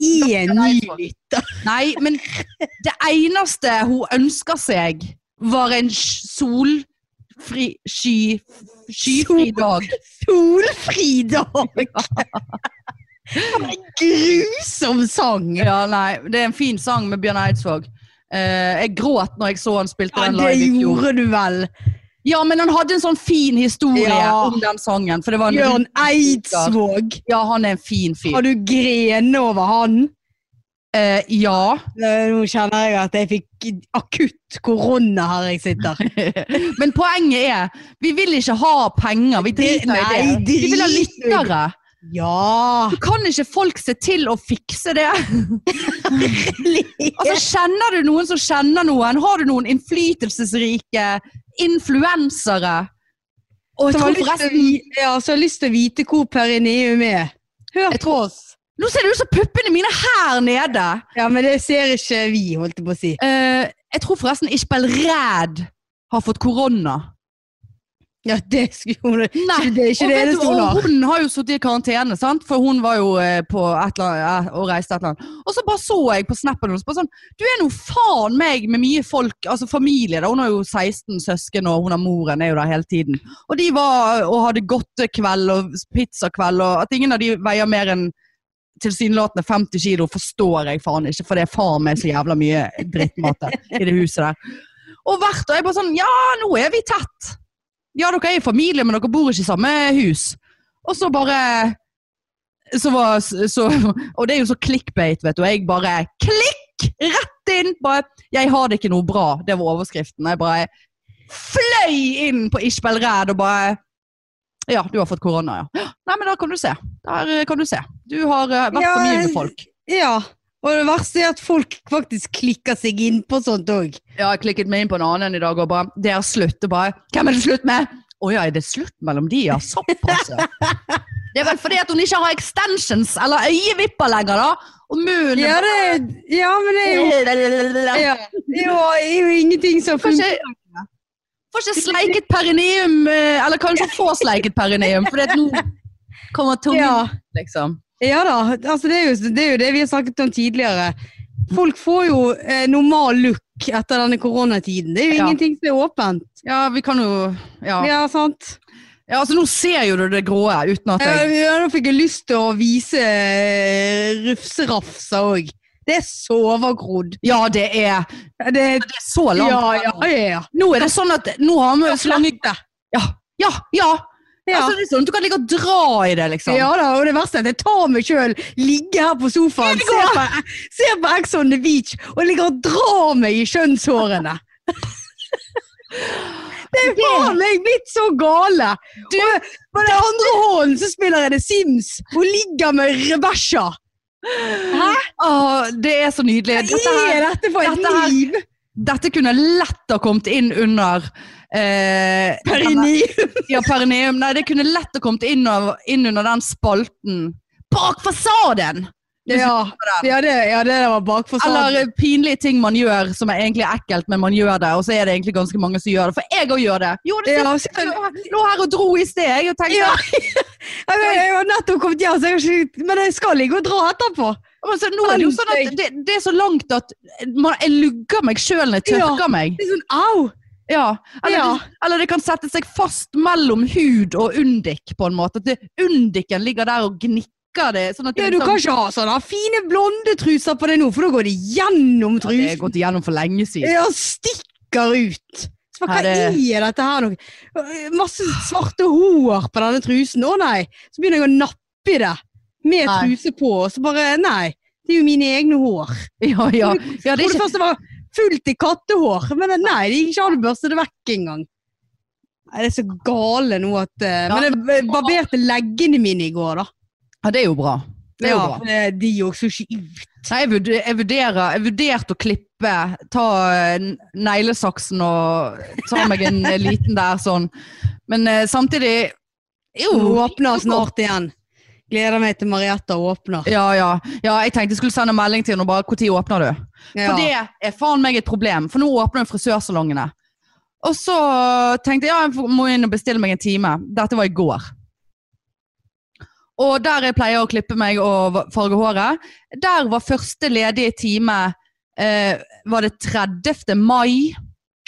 I en ny lytter. Nei, men det eneste hun ønsker seg, var en sj- solfri sky, skyfri dag. Solfri dag! Grusom sang! Ja, nei, Det er en fin sang med Bjørn Eidsvåg. Eh, jeg gråt når jeg så han spilte Ja, den det live i fjor. gjorde du vel. Ja, men han hadde en sånn fin historie Ja. om den sangen. For det var en Bjørn Eidsvåg. oh, Ja, han er en fin fyr. Har du grenet over han? Eh, ja. Eh, Nå kjenner jeg at jeg fikk akutt korona her jeg sitter. Men poenget er, vi vil ikke ha penger. Vi Det- driter i nei, det. Vi vil ha drit nå i det. lyttere. Ja! Kan ikke folk se til å fikse det? Altså, Altså, Kjenner du noen som kjenner noen? Har du noen innflytelsesrike influensere? Og jeg som har tror lyst til å forresten vi- ja, som har lyst til å vite hvor perineum er. Hør Jeg på oss. Nå ser det ut som puppene mine her nede. Ja, men det ser ikke vi, holdt jeg på å si. Eh, jeg tror forresten Ishbel Ræd har fått korona. Ja, det skulle hun Nei, Det er ikke det og vet eneste du, hun og har. Hun har jo sittet i karantene, sant? for hun var jo eh, på et eller annet, eh, og reiste et eller annet. Og så bare så jeg på snappen hennes bare sånn Du er nå faen meg med mye folk, altså familie. da, Hun har jo 16 søsken, og hun har moren er jo der hele tiden. Og de var og hadde godtekveld og pizzakveld, og at ingen av de veier mer enn tilsynelatende 50 kilo forstår jeg faen ikke, for det er faen meg så jævla mye drittmat i det huset der. Og hvert og jeg bare sånn Ja, nå er vi tett. Ja, dere er i familie, men dere bor ikke i samme hus. Og så bare så var, så, Og det er jo så clickbait, vet du. Og jeg bare Klikk! Rett inn bare 'Jeg har det ikke noe bra'. Det var overskriften. Jeg bare fløy inn på Ishbel Red og bare Ja, du har fått korona, ja. Nei, men da kan du se. Der eh, kan du se. Du har eh, vært Ja, for mye med folk. Ja. Og det verste er at folk faktisk klikker seg inn på sånt òg. Ja, jeg klikket meg inn på en annen i dag og bare Det er slutt. Og bare Hvem er det slutt med? Å ja, er det slutt mellom de, ja? Såpass, ja. Det er vel fordi at hun ikke har extensions eller øyevipper lenger, da. Og munnen Ja, det, ja, men det er jo ja, bare- det er jo, det er jo ingenting som Får funker. ikke, får ikke sleiket perineum, eh, eller kanskje få sleiket perineum, fordi at nå kommer tungen, Ja. liksom. Ja da, altså det, er jo, det er jo det vi har snakket om tidligere. Folk får jo eh, normal look etter denne koronatiden. Det er jo Ja. ingenting som er åpent. Ja, vi kan jo Ja, Ja, sant? ja altså nå ser jo du det grå uten at Ja, jeg ja, nå fikk jeg lyst til å vise eh, rufserafser òg. Det er sovegrodd. Ja, det er, Det er det er så langt. Ja, ja, ja. ja. Nå er det sånn at nå har vi så langt Ja, ja, ja. Ja. Altså, det er sånn, du kan ligge og dra i det, liksom. Ja da, og det verste er at jeg tar meg sjøl, ligger her på sofaen, det ser går. på, ser på Ex on the Beach og ligger og drar meg i kjønnshårene. Det er faen meg blitt så gale! Du- og på den andre hånden så spiller jeg The Sims og ligger med reversja. Hæ? Åh, det er så nydelig. Hva Dette, er her, dette for et dette her- liv? dette kunne lett ha kommet inn under eh, Perineum. Ja, perineum. Nei, det kunne lett ha kommet inn, av, inn under den spalten. Bak fasaden! Ja, ja, det, ja, det var bakfor Eller eh, pinlige ting man gjør som er egentlig ekkelt, men man gjør det. Og så er det egentlig ganske mange som gjør det. For jeg òg gjør det. Jo, det Ja, siste, jeg lå her- lå her og dro i sted jeg, og tenkte Ja. Jeg vet, jeg har nettopp kommet hjem, så jeg har ikke, men jeg skal ligge og dra etterpå. Men så, nå er det jo sånn at det, det er så langt at man, jeg lugger meg sjøl når jeg tørker meg. Det er sånn, au! Ja. Eller, Ja. Det, eller det kan sette seg fast mellom hud og undik, på en måte. At det, undiken ligger der og gnikker det. Sånn at det Ja, du liksom- kan ikke ha sånne fine blonde truser på deg nå, for da går det gjennom Ja, Det er trusen. gått igjennom for lenge siden. Ja, stikker ut. Så bare, Ja, hva det- er dette her nå? Masse svarte hår på denne trusen. Å nei! Så begynner jeg å nappe i det med Nei. truse på, og så bare nei. Det er jo mine egne hår. Ja, ja. ja det Jeg er trodde ikke først det var fullt i kattehår, men nei, det gikk ikke an å børste det vekk engang. Nei, Det er så gale nå at eh, Ja. Men jeg barberte leggene mine i går, da. Ja, det er jo bra. Det er jo Ja, bra. for det- de også ikke ut. Nei, jeg, vurder, jeg vurderer Jeg vurderte å klippe, ta eh, n- neglesaksen og ta meg en eh, liten der sånn. Men eh, samtidig Jo. Hun åpner snart igjen. Gleder meg til Marietta åpner. Ja, ja. ja, jeg tenkte jeg skulle sende en melding til henne og bare 'Når åpner du?' Ja. For det er faen meg et problem, for nå åpner jo frisørsalongene. Og så tenkte jeg ja, jeg må inn og bestille meg en time. Dette var i går. Og der jeg pleier å klippe meg og va- farge håret, der var første ledige time eh, var det 30. mai.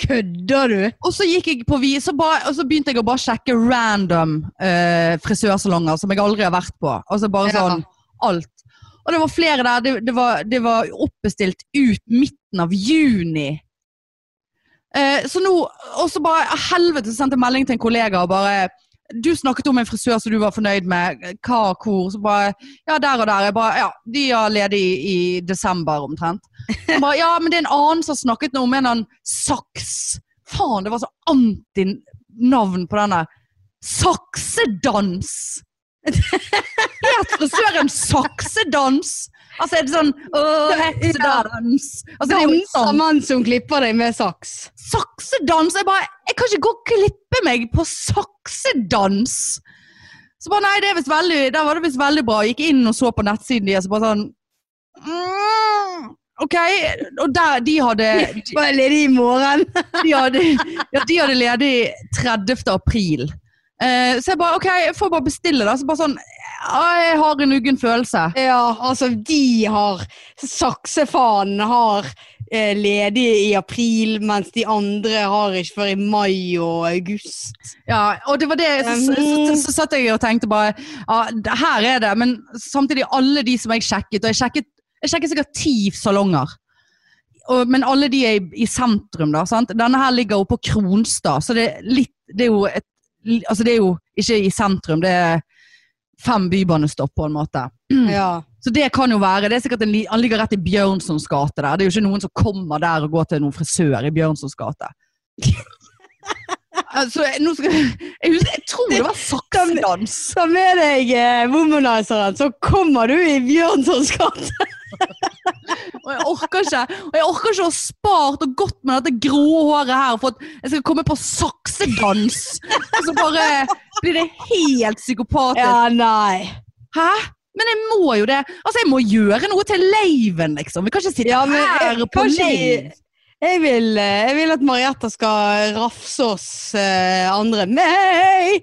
Kødder du? Og så, gikk jeg på, vi- så, bare, og så begynte jeg å bare sjekke random eh, frisørsalonger som jeg aldri har vært på. Altså bare Ja. sånn alt. Og det var flere der. Det, det, var, det var oppbestilt ut midten av juni. Eh, så nå, og så bare ah, helvete så sendte jeg melding til en kollega og bare Du snakket om en frisør som du var fornøyd med. Hva, hvor? Så bare Ja, der og der. Jeg bare, ja, De har ledig i, i desember omtrent. Så bare, ja, men det er en annen som har snakket nå om en eller annen saks. Faen, det var så antinavn på denne. Saksedans! Het frisøren saksedans? Altså, er det sånn Åh, heksedans? Altså, det er jo Danser sånn. mann som klipper deg med saks. Saksedans! Jeg bare Jeg kan ikke gå og klippe meg på saksedans! Så bare nei, det er visst veldig Der var det visst veldig bra. Gikk inn og så på nettsiden deres, og bare sånn mm, OK. Og der, de hadde de, Bare ledig i morgen. de hadde, ja, de hadde ledig 30. april. Eh, så jeg bare OK, jeg får bare bestille, da. Så bare sånn ja, Jeg har en uggen følelse. Ja, altså, de har Saksefanen har eh, ledig i april, mens de andre har ikke før i mai og august. Ja, og det var det så, så, så, så satt jeg og tenkte bare ja, det- Her er det, men samtidig alle de som jeg sjekket Og jeg sjekket, jeg sjekket sikkert ti salonger. Og, men alle de er i, i sentrum, da. Sant? Denne her ligger oppe på Kronstad, så det er litt Det er jo et Altså, det er jo ikke i sentrum, det er fem bybanestopp, på en måte. Ja. Så det kan jo være. det er sikkert en, li- Han ligger rett i Bjørnsons gate der. Det er jo ikke noen som kommer der og går til noen frisør i Bjørnsons gate. altså, nå skal, jeg, husker, jeg tror det var saksedans. Ta med deg eh, womanizeren, så kommer du i Bjørnsons gate. Og jeg orker ikke Og jeg orker ikke å ha spart og gått med dette grå håret her for at jeg skal komme på saksedans. Og så bare blir det helt psykopatisk. Ja, nei. Hæ? Men jeg må jo det. Altså, jeg må gjøre noe til leiven, liksom. Vi kan ikke sitte Ja, men jeg- her på kanskje- leiv. Jeg vil, eh, jeg vil at Marietta skal rafse oss eh, andre Nei!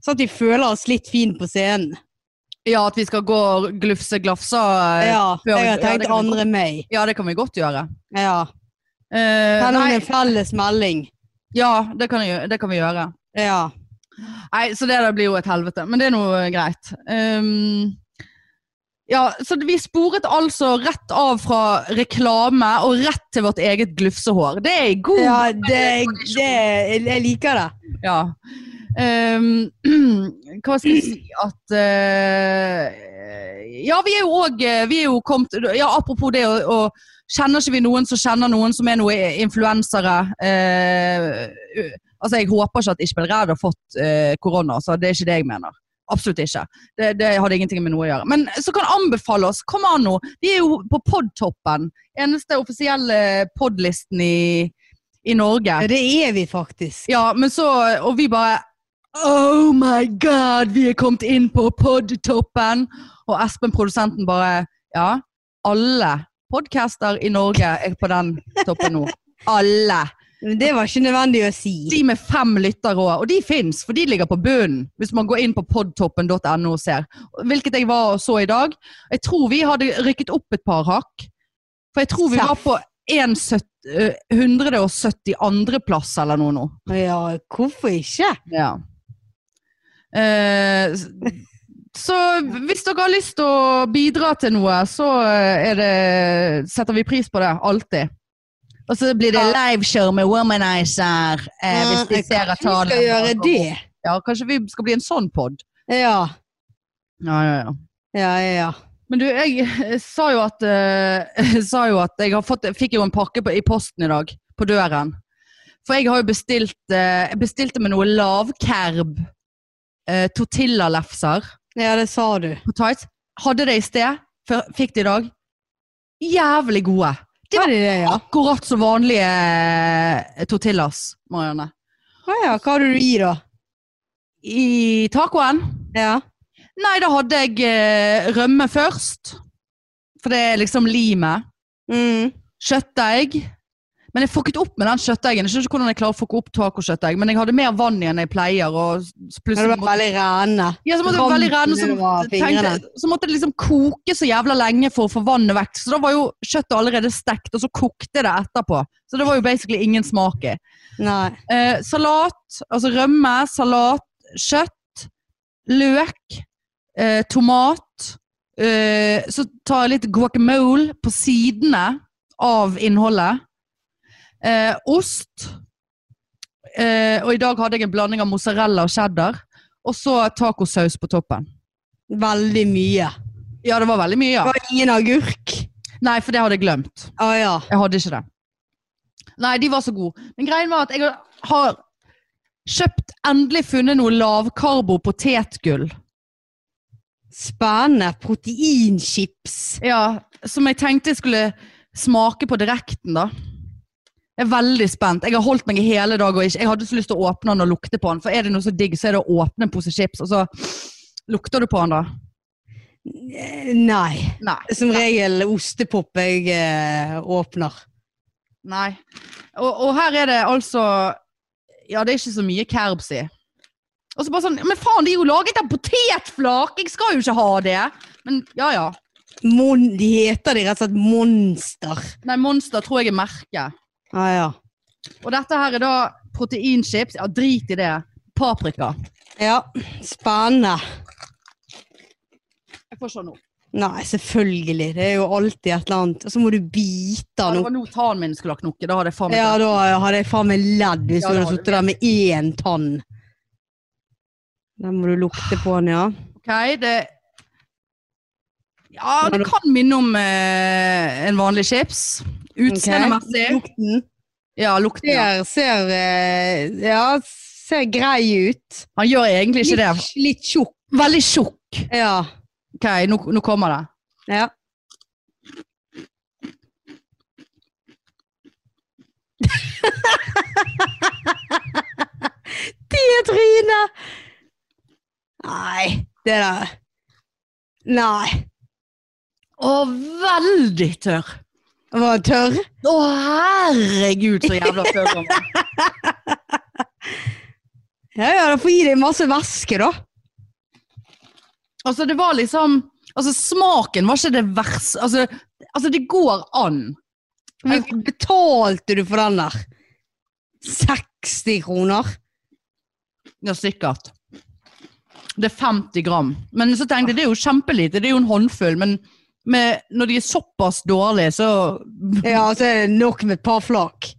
Sånn at vi føler oss litt fin på scenen. Ja, at vi skal gå og glufse glafsa. Ja. Ja, Eh, før- jeg ja, har det tenkt kan vi andre meg. det kan vi godt gjøre. Ja. Eh, Kan hun nei, en felles melding? ja, det kan, jeg, gjø- det kan vi gjøre. Ja. Nei, så det der blir jo et helvete. Men det er noe eh, greit. Ehm, ja, så vi sporet altså rett av fra reklame og rett til vårt eget glufsehår. Oh, Det er god ja det, det, jeg liker det. Ja. Ehm, hva skal jeg si at eh, Ja, vi er jo òg Vi er jo kommet Ja, apropos det å, å Kjenner ikke vi noen som kjenner noen som er noen influensere? eh, u- altså, Jeg håper ikke at Ishbel Ræd har fått eh, korona, så det er ikke det jeg mener. Absolutt ikke. Det, det hadde ingenting med noe å gjøre. Men så kan anbefale oss. Kom an nå. Vi er jo på Podtoppen. Eneste offisielle podlisten i, i Norge. Ja, det er vi faktisk. Ja, men så Og vi bare Oh my god, vi er kommet inn på podtoppen! Og Espen, produsenten, bare Ja, alle podcaster i Norge er på den toppen nå. Alle! Men det var ikke nødvendig å si. De med fem lyttere òg. Og de fins, for de ligger på bunnen. Hvis man går inn på podtoppen.no og ser. Hvilket jeg var og så i dag. Jeg tror vi hadde rykket opp et par hakk. For jeg tror vi var på eh, 172. plass eller noe nå. Ja, hvorfor ikke? Ja. Eh, s- så hvis dere har lyst til å bidra til noe, så eh, er det, setter vi pris på det. Alltid. Og så blir det Ja. liveshow med Womanizer. Eh, hvis de Ja, ser at kanskje vi skal gjøre det. Ja, kanskje vi skal bli en sånn pod. Ja. Ja, ja, ja. Ja, ja, ja. Men du, jeg eh, sa jo at, eh, sa jo at jeg har fått, fikk jo en pakke på, i posten i dag, på døren. For jeg har jo bestilt, eh, jeg bestilte med noe lavkerb, eh, tortillalefser Ja, det sa du. på tights. Hadde det i sted, før- fikk det i dag. Jævlig gode. Det Var det det, ja? Akkurat som vanlige eh, tortillas, Marianne. Å ja, hva hadde du i da? I tacoen? Ja. Nei, da hadde jeg eh, rømme først. For det er liksom limet. Mm. kjøttdeig. Men jeg fucket opp med den kjøttdeigen. Jeg skjønner ikke hvordan jeg klarer å fucke opp tacokjøttdeig, men jeg hadde mer vann igjen enn jeg pleier. Og s- Ja, Det plutselig var veldig rene. ja, så måtte jeg Vann veldig renne, det var så, tenkte, fingrene. så måtte det liksom koke så jævla lenge for å få vannet vekk. Så da var jo kjøttet allerede stekt, og så kokte det etterpå. Så det var jo basically ingen smak i. Nei. Eh, salat, altså rømme, salat, kjøtt, løk, eh, tomat. Eh, så tar jeg litt guacamole på sidene av innholdet. Eh, ost. Eh, og i dag hadde jeg en blanding av mozzarella og cheddar. Og så tacosaus på toppen. Veldig mye. Ja, det var veldig mye. Det ja. var ingen agurk. Nei, for det hadde jeg glemt. Å ja. Jeg hadde ikke det. Nei, de var så gode. Men greien var at jeg har kjøpt endelig funnet noe lavkarbo potetgull. Spennende. Proteinchips. Ja, som jeg tenkte jeg skulle smake på direkten, da. Jeg er veldig spent. Jeg har holdt meg i hele dag og ikke, jeg hadde så lyst til å åpne den og lukte på den. For er det noe så digg, så er det å åpne en pose chips, og så lukter du på den, da. Eh, Nei. Nei. Som regel ostepop jeg eh, åpner. Nei. Og, og her er det altså Ja, det er ikke så mye kerbs i. Og så bare sånn Men faen, det er jo laget av potetflak! Jeg skal jo ikke ha det! Men ja, ja. Mon de heter de rett og slett Monster. Nei, Monster tror jeg er merket. Ah, ja. Og dette her er da proteinchips. Ja, drit i det. Paprika. ja. Spennende. Jeg får se nå. Nei, selvfølgelig. Det er jo alltid et eller annet. Og så må du bite Ja, den det opp. var nå tannen min skulle ha knokket. Da hadde jeg faen meg Ja, da hadde jeg faen meg ledd hvis du Ja, det hadde hadde sittet der med én tann. Den må du lukte på den, ja. Ok, det Ja, det kan minne om eh, en vanlig chips. Utseendemessig. Lukten Ja, lukten. Ja. ser, ser eh, Ja, ser grei ut. Han gjør egentlig ikke det. Litt, litt tjukk. Veldig tjukk. Ja. Ok, nå, nå kommer det. ja. det trynet! Nei, det der Nei. Å, veldig tørr. Var den tørr? Å, herregud, så jævla tørr han var. Ja, ja, da får gi deg masse væske, da. Altså, det var liksom Altså, smaken var ikke det verste altså, altså, det går an. Hvor mye betalte du for den der? 60 kroner? Ja, sikkert. Det er 50 gram. Men så tenkte jeg, det er jo kjempelite. Det er jo en håndfull. Men med, når de er såpass dårlige, så Ja, så er det nok med et par flak.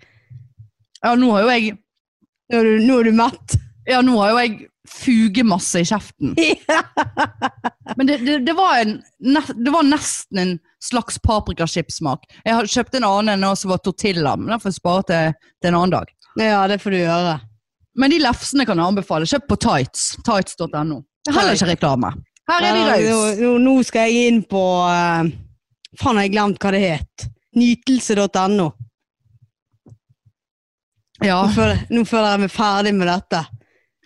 Ja, nå har jo jeg Nå er du, nå er du mett. Ja, nå har jo jeg fugemasse i kjeften. Men det, det, det, var en, ne- det var nesten en slags paprikachipsmak. Jeg har- kjøpte en annen enn som var tortilla, men den får jeg spare til, til en annen dag. Ja, det får du gjøre. Men de lefsene kan jeg anbefale. Kjøp på tights. Tights.no. Det er heller ikke reklame. Her er de Ja, rause. nå, nå skal jeg inn på eh, Faen, har jeg glemt hva det het. Nytelse.no. Ja. Nå føler nå føler jeg meg ferdig med dette.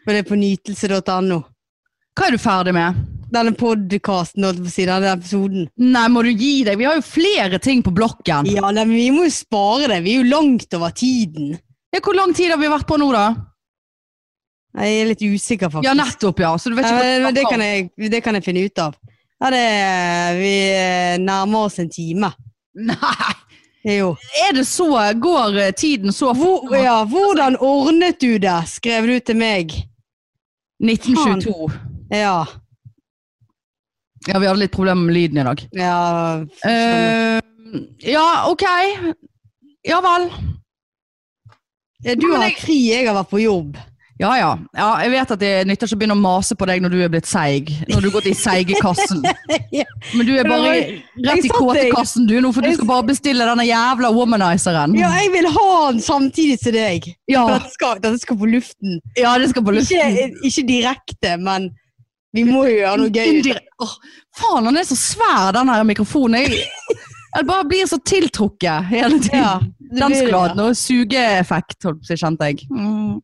For det er på nytelse.no. Hva er du ferdig med? Denne podkasten, holdt jeg på å si. Denne episoden. Nei, må du gi deg. Vi har jo flere ting på blokken. Ja, nei, men vi må jo spare det. Vi er jo langt over tiden. Ja, hvor lang tid har vi vært på nå, da? Jeg er litt usikker, faktisk. Ja, nettopp, ja. Så du vet Ja, ikke men, men Eh, det, kan jeg. jeg, det kan jeg finne ut av. Ja, det, vi eh, nærmer oss en time. Nei, Det er Jo. er det så Går eh, tiden så fort? Hvor, ja, hvordan ordnet du det? Skrev du til meg. 1922. Ja. Ja, vi hadde litt problemer med lyden i dag. ja Eh, ja, ok. Ja vel. Ja, du men har jeg- krig, jeg har vært på jobb. Ja, ja. ja jeg vet at det nytter ikke å begynne å mase på deg når du er blitt seig. Når du har gått i seigekassen. Ja. Men du er bare i- rett i Jeg satt deg. kåtekassen, du, nå, for du Jeg skal bare bestille denne jævla womanizeren. Ja, jeg vil ha den samtidig som deg. For Ja, dette skal, dette skal på luften. ja, det skal på Ikke, luften. ikke direkte, men vi må jo gjøre noe gøy. ut av det. Indire- Åh, faen, han er så svær, den her mikrofonen. Jeg, jeg bare blir så tiltrukket hele tiden. Ja, det den blir skulle det. hatt noe sugeeffekt, holdt jeg på å si, kjente jeg. Mm.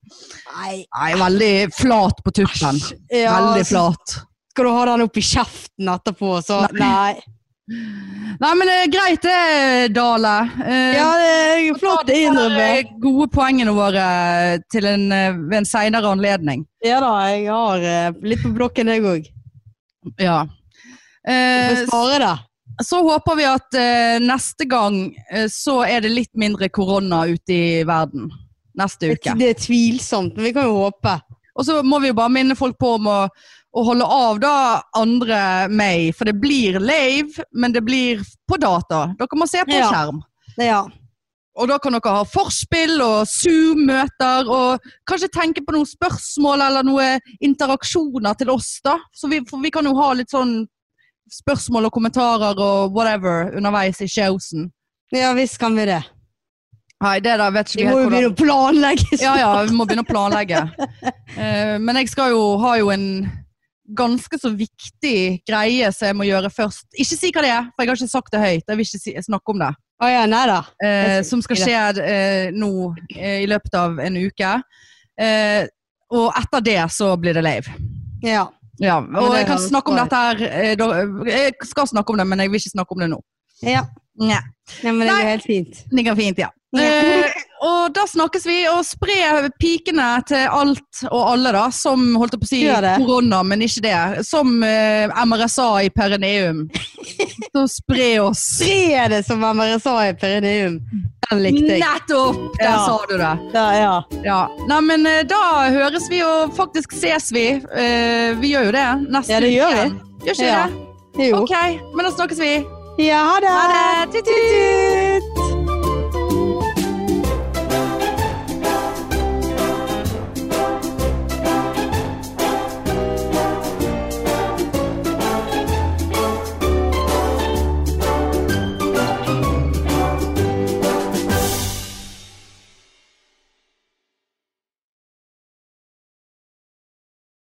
Nei. Nei, veldig flat på tuppen. Ja, altså. veldig så flat. skal du ha den opp i kjeften etterpå, så nei. Nei, men eh, greit det, Dale. Eh, Ja, det er flott å vi tar de innrømme. her, eh, gode poengene våre til en, eh, ved en senere anledning. Ja da, jeg har eh, litt på blokken, jeg òg. Ja. Får Eh, spare det. så håper vi at eh, neste gang eh, så er det litt mindre korona ute i verden. Neste Det, uke. det er tvilsomt, men vi kan jo håpe. Og så må vi jo bare minne folk på om å, å holde av da 2. mai, for det blir live, men det blir på data. Dere må se på Ja. skjerm. Ja. Og da kan dere ha forspill og Zoom-møter og kanskje tenke på noen spørsmål eller noen interaksjoner til oss, da. Så vi, for vi kan jo ha litt sånn spørsmål og kommentarer og whatever underveis i showsen. ja visst kan vi det. Nei, det der vet ikke Vi vi må helt jo begynne hvordan å planlegge. Ja, ja, vi må begynne å planlegge. Eh, men jeg skal jo ha jo en ganske så viktig greie som jeg må gjøre først. Ikke si hva det er, for jeg har ikke sagt det høyt. Jeg vil ikke si, snakke om det. Å ja, nei da. eh, Jeg som skal skje eh, nå eh, i løpet av en uke. Eh, og etter det så blir det live. Ja. Ja, og det jeg kan høres snakke om bra ut. dette her eh, da, Jeg skal snakke om det, men jeg vil ikke snakke om det nå. ja. Nei, Nei, men det Nei. går helt fint. det går fint, ja. Ja. Eh, og da snakkes vi, og spre pikene til alt og alle, da, som holdt jeg på å si Gjør det. korona, men ikke det. Som eh, MRSA i perineum. så spre oss. Tre det som MRSA i perineum. Den likte jeg. Nettopp! Der Ja. sa du det. Ja, ja. Ja, Nei, men eh, da høres vi og faktisk ses vi. Eh, vi gjør jo det. Neste Ja, det gjør vi. Gjør ikke Ja. det? Jo. Ok, men da snakkes vi. Ja, ha det. Ha det! Tut, tut, tut.